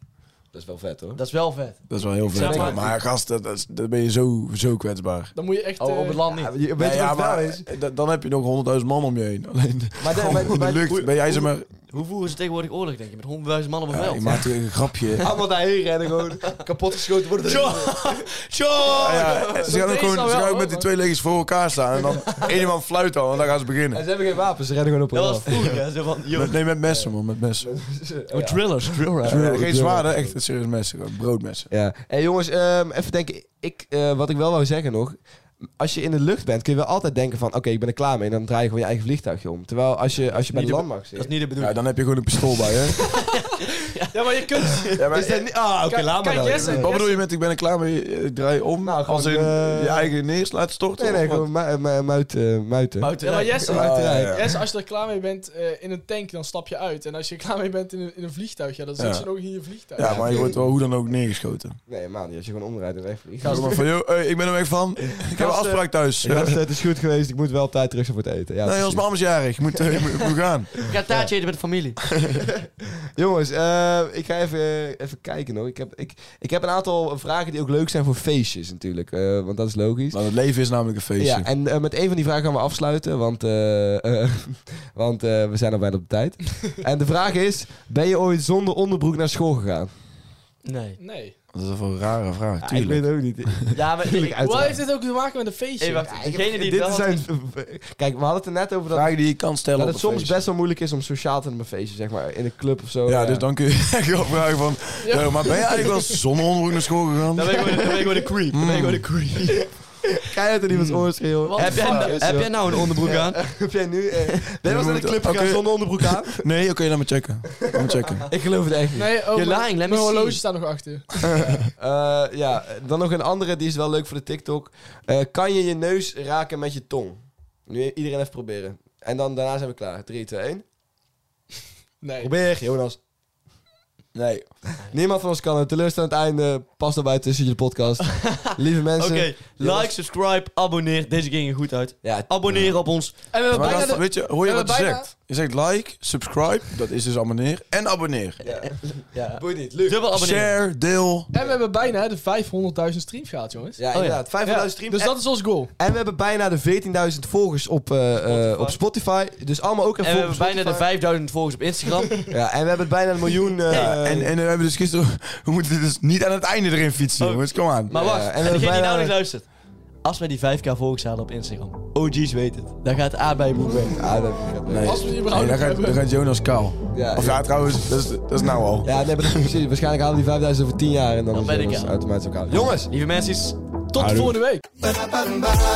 [SPEAKER 2] Dat is wel vet hoor.
[SPEAKER 4] Dat is wel vet.
[SPEAKER 3] Dat is wel heel
[SPEAKER 4] Zeg
[SPEAKER 3] vet.
[SPEAKER 4] maar-
[SPEAKER 3] Maar, gast, dat, dat is- dan ben je zo, zo kwetsbaar.
[SPEAKER 5] Dan moet je echt...
[SPEAKER 4] Oh,
[SPEAKER 5] eh,
[SPEAKER 4] op het land niet.
[SPEAKER 2] je weet
[SPEAKER 3] Nee,
[SPEAKER 2] je
[SPEAKER 3] ja,
[SPEAKER 2] wat het wel
[SPEAKER 3] maar,
[SPEAKER 2] is?
[SPEAKER 3] eh, da- dan heb je nog honderdduizend man (laughs) om je heen. Alleen de,
[SPEAKER 2] Maar, de-
[SPEAKER 3] gewoon
[SPEAKER 2] maar,
[SPEAKER 3] in de
[SPEAKER 2] maar-
[SPEAKER 3] lucht ben jij zeg maar...
[SPEAKER 4] Hoe voeren ze tegenwoordig oorlog, denk je? Met honderdduizend man op een
[SPEAKER 3] Ja, je
[SPEAKER 4] veld. (laughs)
[SPEAKER 3] maakt een
[SPEAKER 2] (laughs)
[SPEAKER 3] grapje.
[SPEAKER 2] allemaal daarheen rennen
[SPEAKER 3] (laughs)
[SPEAKER 2] gewoon. Kapot geschoten worden.
[SPEAKER 3] Ja,
[SPEAKER 2] (laughs)
[SPEAKER 3] ja, ze gaan ook,
[SPEAKER 5] is
[SPEAKER 3] gewoon, ze
[SPEAKER 5] al wel,
[SPEAKER 3] gaan ook
[SPEAKER 5] hoor,
[SPEAKER 3] met die twee legers voor elkaar staan. En dan één iemand fluit al en dan gaan ze
[SPEAKER 2] En ze
[SPEAKER 3] beginnen.
[SPEAKER 2] hebben geen wapens, ze rennen gewoon op
[SPEAKER 4] Dat was
[SPEAKER 2] elkaar.
[SPEAKER 4] vroeger, hè? Zo van, joh.
[SPEAKER 3] Met- Nee, met messen man, met messen.
[SPEAKER 4] Oh, Drillers, drillers.
[SPEAKER 3] Ja,
[SPEAKER 2] (laughs) Drill,
[SPEAKER 3] geen
[SPEAKER 2] drill.
[SPEAKER 3] zwaarden, echt serieus messen. gewoon Broodmessen.
[SPEAKER 2] Ja. En jongens, ehm, even denken. Ik, eh, wat ik wel wou zeggen nog. Als je in de lucht bent, kun je wel altijd denken van... Oké, ik ben er klaar mee. En dan draai je gewoon je eigen vliegtuigje om. Terwijl als je, als je bij
[SPEAKER 4] Niet
[SPEAKER 2] de
[SPEAKER 4] de-
[SPEAKER 2] landmacht
[SPEAKER 4] Dat is
[SPEAKER 2] zit...
[SPEAKER 4] niet de
[SPEAKER 3] Ja,
[SPEAKER 4] bedoeling.
[SPEAKER 3] dan heb je gewoon een pistool
[SPEAKER 2] (laughs)
[SPEAKER 3] bij, hè?
[SPEAKER 5] Ja, maar je kunt...
[SPEAKER 3] Ja, maar-
[SPEAKER 2] Is dat niet- Ah, oké,
[SPEAKER 5] Kijk-
[SPEAKER 2] laat maar
[SPEAKER 5] kijk,
[SPEAKER 2] dan.
[SPEAKER 5] Jesse.
[SPEAKER 3] wat bedoel je met ik ben er klaar mee, eh, ik draai om?
[SPEAKER 2] Nou, gewoon,
[SPEAKER 3] als in
[SPEAKER 2] eh,
[SPEAKER 3] je eigen neerslaat storten?
[SPEAKER 2] Nee, nee,
[SPEAKER 3] of wat?
[SPEAKER 2] gewoon mu- mu- muiten. eh, muiten.
[SPEAKER 5] Ja, maar Jesse,
[SPEAKER 3] Ah, ja, ja.
[SPEAKER 5] Jesse, als je er klaar mee bent eh, in een tank, dan stap je uit. En als je (laughs) er klaar mee bent in een, in een vliegtuig, ja, dan zit
[SPEAKER 3] Ja.
[SPEAKER 5] je nog in je vliegtuig.
[SPEAKER 3] Ja, maar je wordt wel hoe dan ook neergeschoten.
[SPEAKER 2] Nee, man, als je gewoon omdraait en wegvliegt.
[SPEAKER 3] Zeg maar van, joh, hey, ik ben er weg
[SPEAKER 2] (laughs)
[SPEAKER 3] van. Ik heb een afspraak thuis. Ja,
[SPEAKER 2] Gast, het is goed geweest. Ik moet wel op tijd terug zijn voor het eten. Ja,
[SPEAKER 3] nee,
[SPEAKER 2] precies.
[SPEAKER 3] ons mama is jarig. Ik moet, eh, ik moet, ik moet (laughs) gaan.
[SPEAKER 4] Ik ga taartje eten met de familie.
[SPEAKER 2] (laughs) Jongens, eh, ik ga even, eh, even kijken hoor. Ik heb, ik, ik heb een aantal vragen die ook leuk zijn voor feestjes natuurlijk. eh, want dat is logisch.
[SPEAKER 3] Want het leven is namelijk een feestje.
[SPEAKER 2] Ja, en eh, met een van die vragen gaan we afsluiten, want, eh, (laughs) eh, want eh, we zijn al bijna op de (laughs) tijd. en de vraag is, ben je ooit zonder onderbroek naar school gegaan?
[SPEAKER 4] Nee.
[SPEAKER 5] Nee.
[SPEAKER 3] Dat is wel een rare vraag,
[SPEAKER 2] Ja, ik
[SPEAKER 3] tuurlijk.
[SPEAKER 2] weet het ook (laughs) niet.
[SPEAKER 4] Ja, maar
[SPEAKER 2] Tuurlijk,
[SPEAKER 4] ik...
[SPEAKER 2] uiteraard.
[SPEAKER 5] Hoe heeft dit ook te maken met een feestje?
[SPEAKER 4] Hey, wacht.
[SPEAKER 2] Ja, ik heb-
[SPEAKER 4] Degene die het
[SPEAKER 2] dit
[SPEAKER 4] wel
[SPEAKER 2] zijn, Kijk, we hadden het er net over dat,
[SPEAKER 3] Vragen die je kan stellen
[SPEAKER 2] dat
[SPEAKER 3] op
[SPEAKER 2] het
[SPEAKER 3] een
[SPEAKER 2] soms
[SPEAKER 3] feestje.
[SPEAKER 2] best wel moeilijk is om sociaal te hebben op een feestje, zeg maar. In een club of zo.
[SPEAKER 3] Ja, dus dan kun je (laughs) echt wel vragen van...
[SPEAKER 5] Ja.
[SPEAKER 3] joh, maar ben je eigenlijk wel zonder onderbroek naar school gegaan?
[SPEAKER 4] Dan ben ik gewoon- dan ben ik gewoon een creep. Dan ben ik gewoon een
[SPEAKER 3] Mm.
[SPEAKER 4] creep.
[SPEAKER 2] Ga je het in iemands oor (laughs) schreeuwen?
[SPEAKER 5] Wat
[SPEAKER 4] Heb jij,
[SPEAKER 5] fuck?
[SPEAKER 4] nou- heb jij nou een onderbroek aan?
[SPEAKER 2] Heb jij nu... (laughs) eh, ben je wel eens in een
[SPEAKER 3] moet-
[SPEAKER 2] club gegaan
[SPEAKER 3] oké.
[SPEAKER 2] zonder onderbroek aan?
[SPEAKER 3] Nee, oké, laat me checken. Laat me checken.
[SPEAKER 2] (laughs) Ik geloof het echt niet.
[SPEAKER 5] Nee, oh,
[SPEAKER 4] You're
[SPEAKER 5] mijn-
[SPEAKER 4] lying, let me
[SPEAKER 5] mijn horloge
[SPEAKER 4] see.
[SPEAKER 5] staat nog achter.
[SPEAKER 2] (laughs) Eh, ja, dan nog een andere, die is wel leuk voor de TikTok. Eh, kan je je neus raken met je tong? Nu iedereen even proberen. En dan daarna zijn we klaar. 3, 2, 1.
[SPEAKER 5] Nee.
[SPEAKER 2] Probeer, Jonas.
[SPEAKER 4] (laughs)
[SPEAKER 3] Nee.
[SPEAKER 2] Niemand van ons kan het. Teleurstellend einde. Pas daarbij tussen je de
[SPEAKER 4] (laughs)
[SPEAKER 2] podcast. Lieve
[SPEAKER 4] Oké,
[SPEAKER 2] mensen.
[SPEAKER 4] like, subscribe, abonneer. Deze ging er goed uit.
[SPEAKER 2] Ja,
[SPEAKER 4] Abonneer op ons.
[SPEAKER 5] En we hebben
[SPEAKER 3] Maar
[SPEAKER 5] bijna
[SPEAKER 3] gast,
[SPEAKER 5] de-
[SPEAKER 3] weet je, hoor je
[SPEAKER 5] we
[SPEAKER 3] wat je
[SPEAKER 5] bijna-
[SPEAKER 3] zegt? Je zegt like, subscribe, dat is dus abonneer, en abonneer.
[SPEAKER 4] Ja.
[SPEAKER 2] (laughs) boeit niet. Leuk.
[SPEAKER 4] Dubbel abonneren.
[SPEAKER 3] Share, deel.
[SPEAKER 5] en we hebben bijna de 500.000 streams gehad, jongens.
[SPEAKER 4] oh
[SPEAKER 2] Ja, inderdaad. 500.000 streams.
[SPEAKER 5] Dus dat is ons goal.
[SPEAKER 2] En we hebben bijna de 14.000 volgers op, eh, eh,
[SPEAKER 4] Spotify.
[SPEAKER 2] op Spotify. Dus allemaal ook
[SPEAKER 4] En
[SPEAKER 2] even
[SPEAKER 4] we hebben bijna de
[SPEAKER 2] vijf.
[SPEAKER 4] 5000 volgers op
[SPEAKER 3] (laughs)
[SPEAKER 4] Instagram.
[SPEAKER 2] Ja, en we hebben bijna een miljoen... eh,
[SPEAKER 3] En, en we hebben dus gisteren... (laughs) We moeten dus niet aan het einde erin fietsen,
[SPEAKER 4] Oh.
[SPEAKER 3] jongens. Kom aan.
[SPEAKER 4] Maar
[SPEAKER 2] Ja,
[SPEAKER 4] wacht,
[SPEAKER 2] en we
[SPEAKER 4] en
[SPEAKER 2] hebben
[SPEAKER 4] degene die
[SPEAKER 2] bijna-
[SPEAKER 4] nou niet luistert. Als wij die 5k volgers halen op Instagram, OG's weet het. Dan gaat A bij Boek weg.
[SPEAKER 2] Ah, dat heb ik net
[SPEAKER 3] Nee,
[SPEAKER 5] Als we die
[SPEAKER 3] nee
[SPEAKER 5] überhaupt
[SPEAKER 3] dan, gaat,
[SPEAKER 5] hebben.
[SPEAKER 3] dan gaat Jonas kaal.
[SPEAKER 2] Ja,
[SPEAKER 3] Of ja, trouwens, dat is, dat is nou al.
[SPEAKER 2] Ja, nee, maar dat is precies. Waarschijnlijk halen we die 5000 over 10 jaar en dan,
[SPEAKER 4] Dan
[SPEAKER 2] is
[SPEAKER 4] ben ik
[SPEAKER 2] Jonas
[SPEAKER 4] er.
[SPEAKER 2] automatisch ook oud. Jongens,
[SPEAKER 4] Lieve mensen,
[SPEAKER 5] Tot de
[SPEAKER 3] Houdoe.
[SPEAKER 5] volgende week.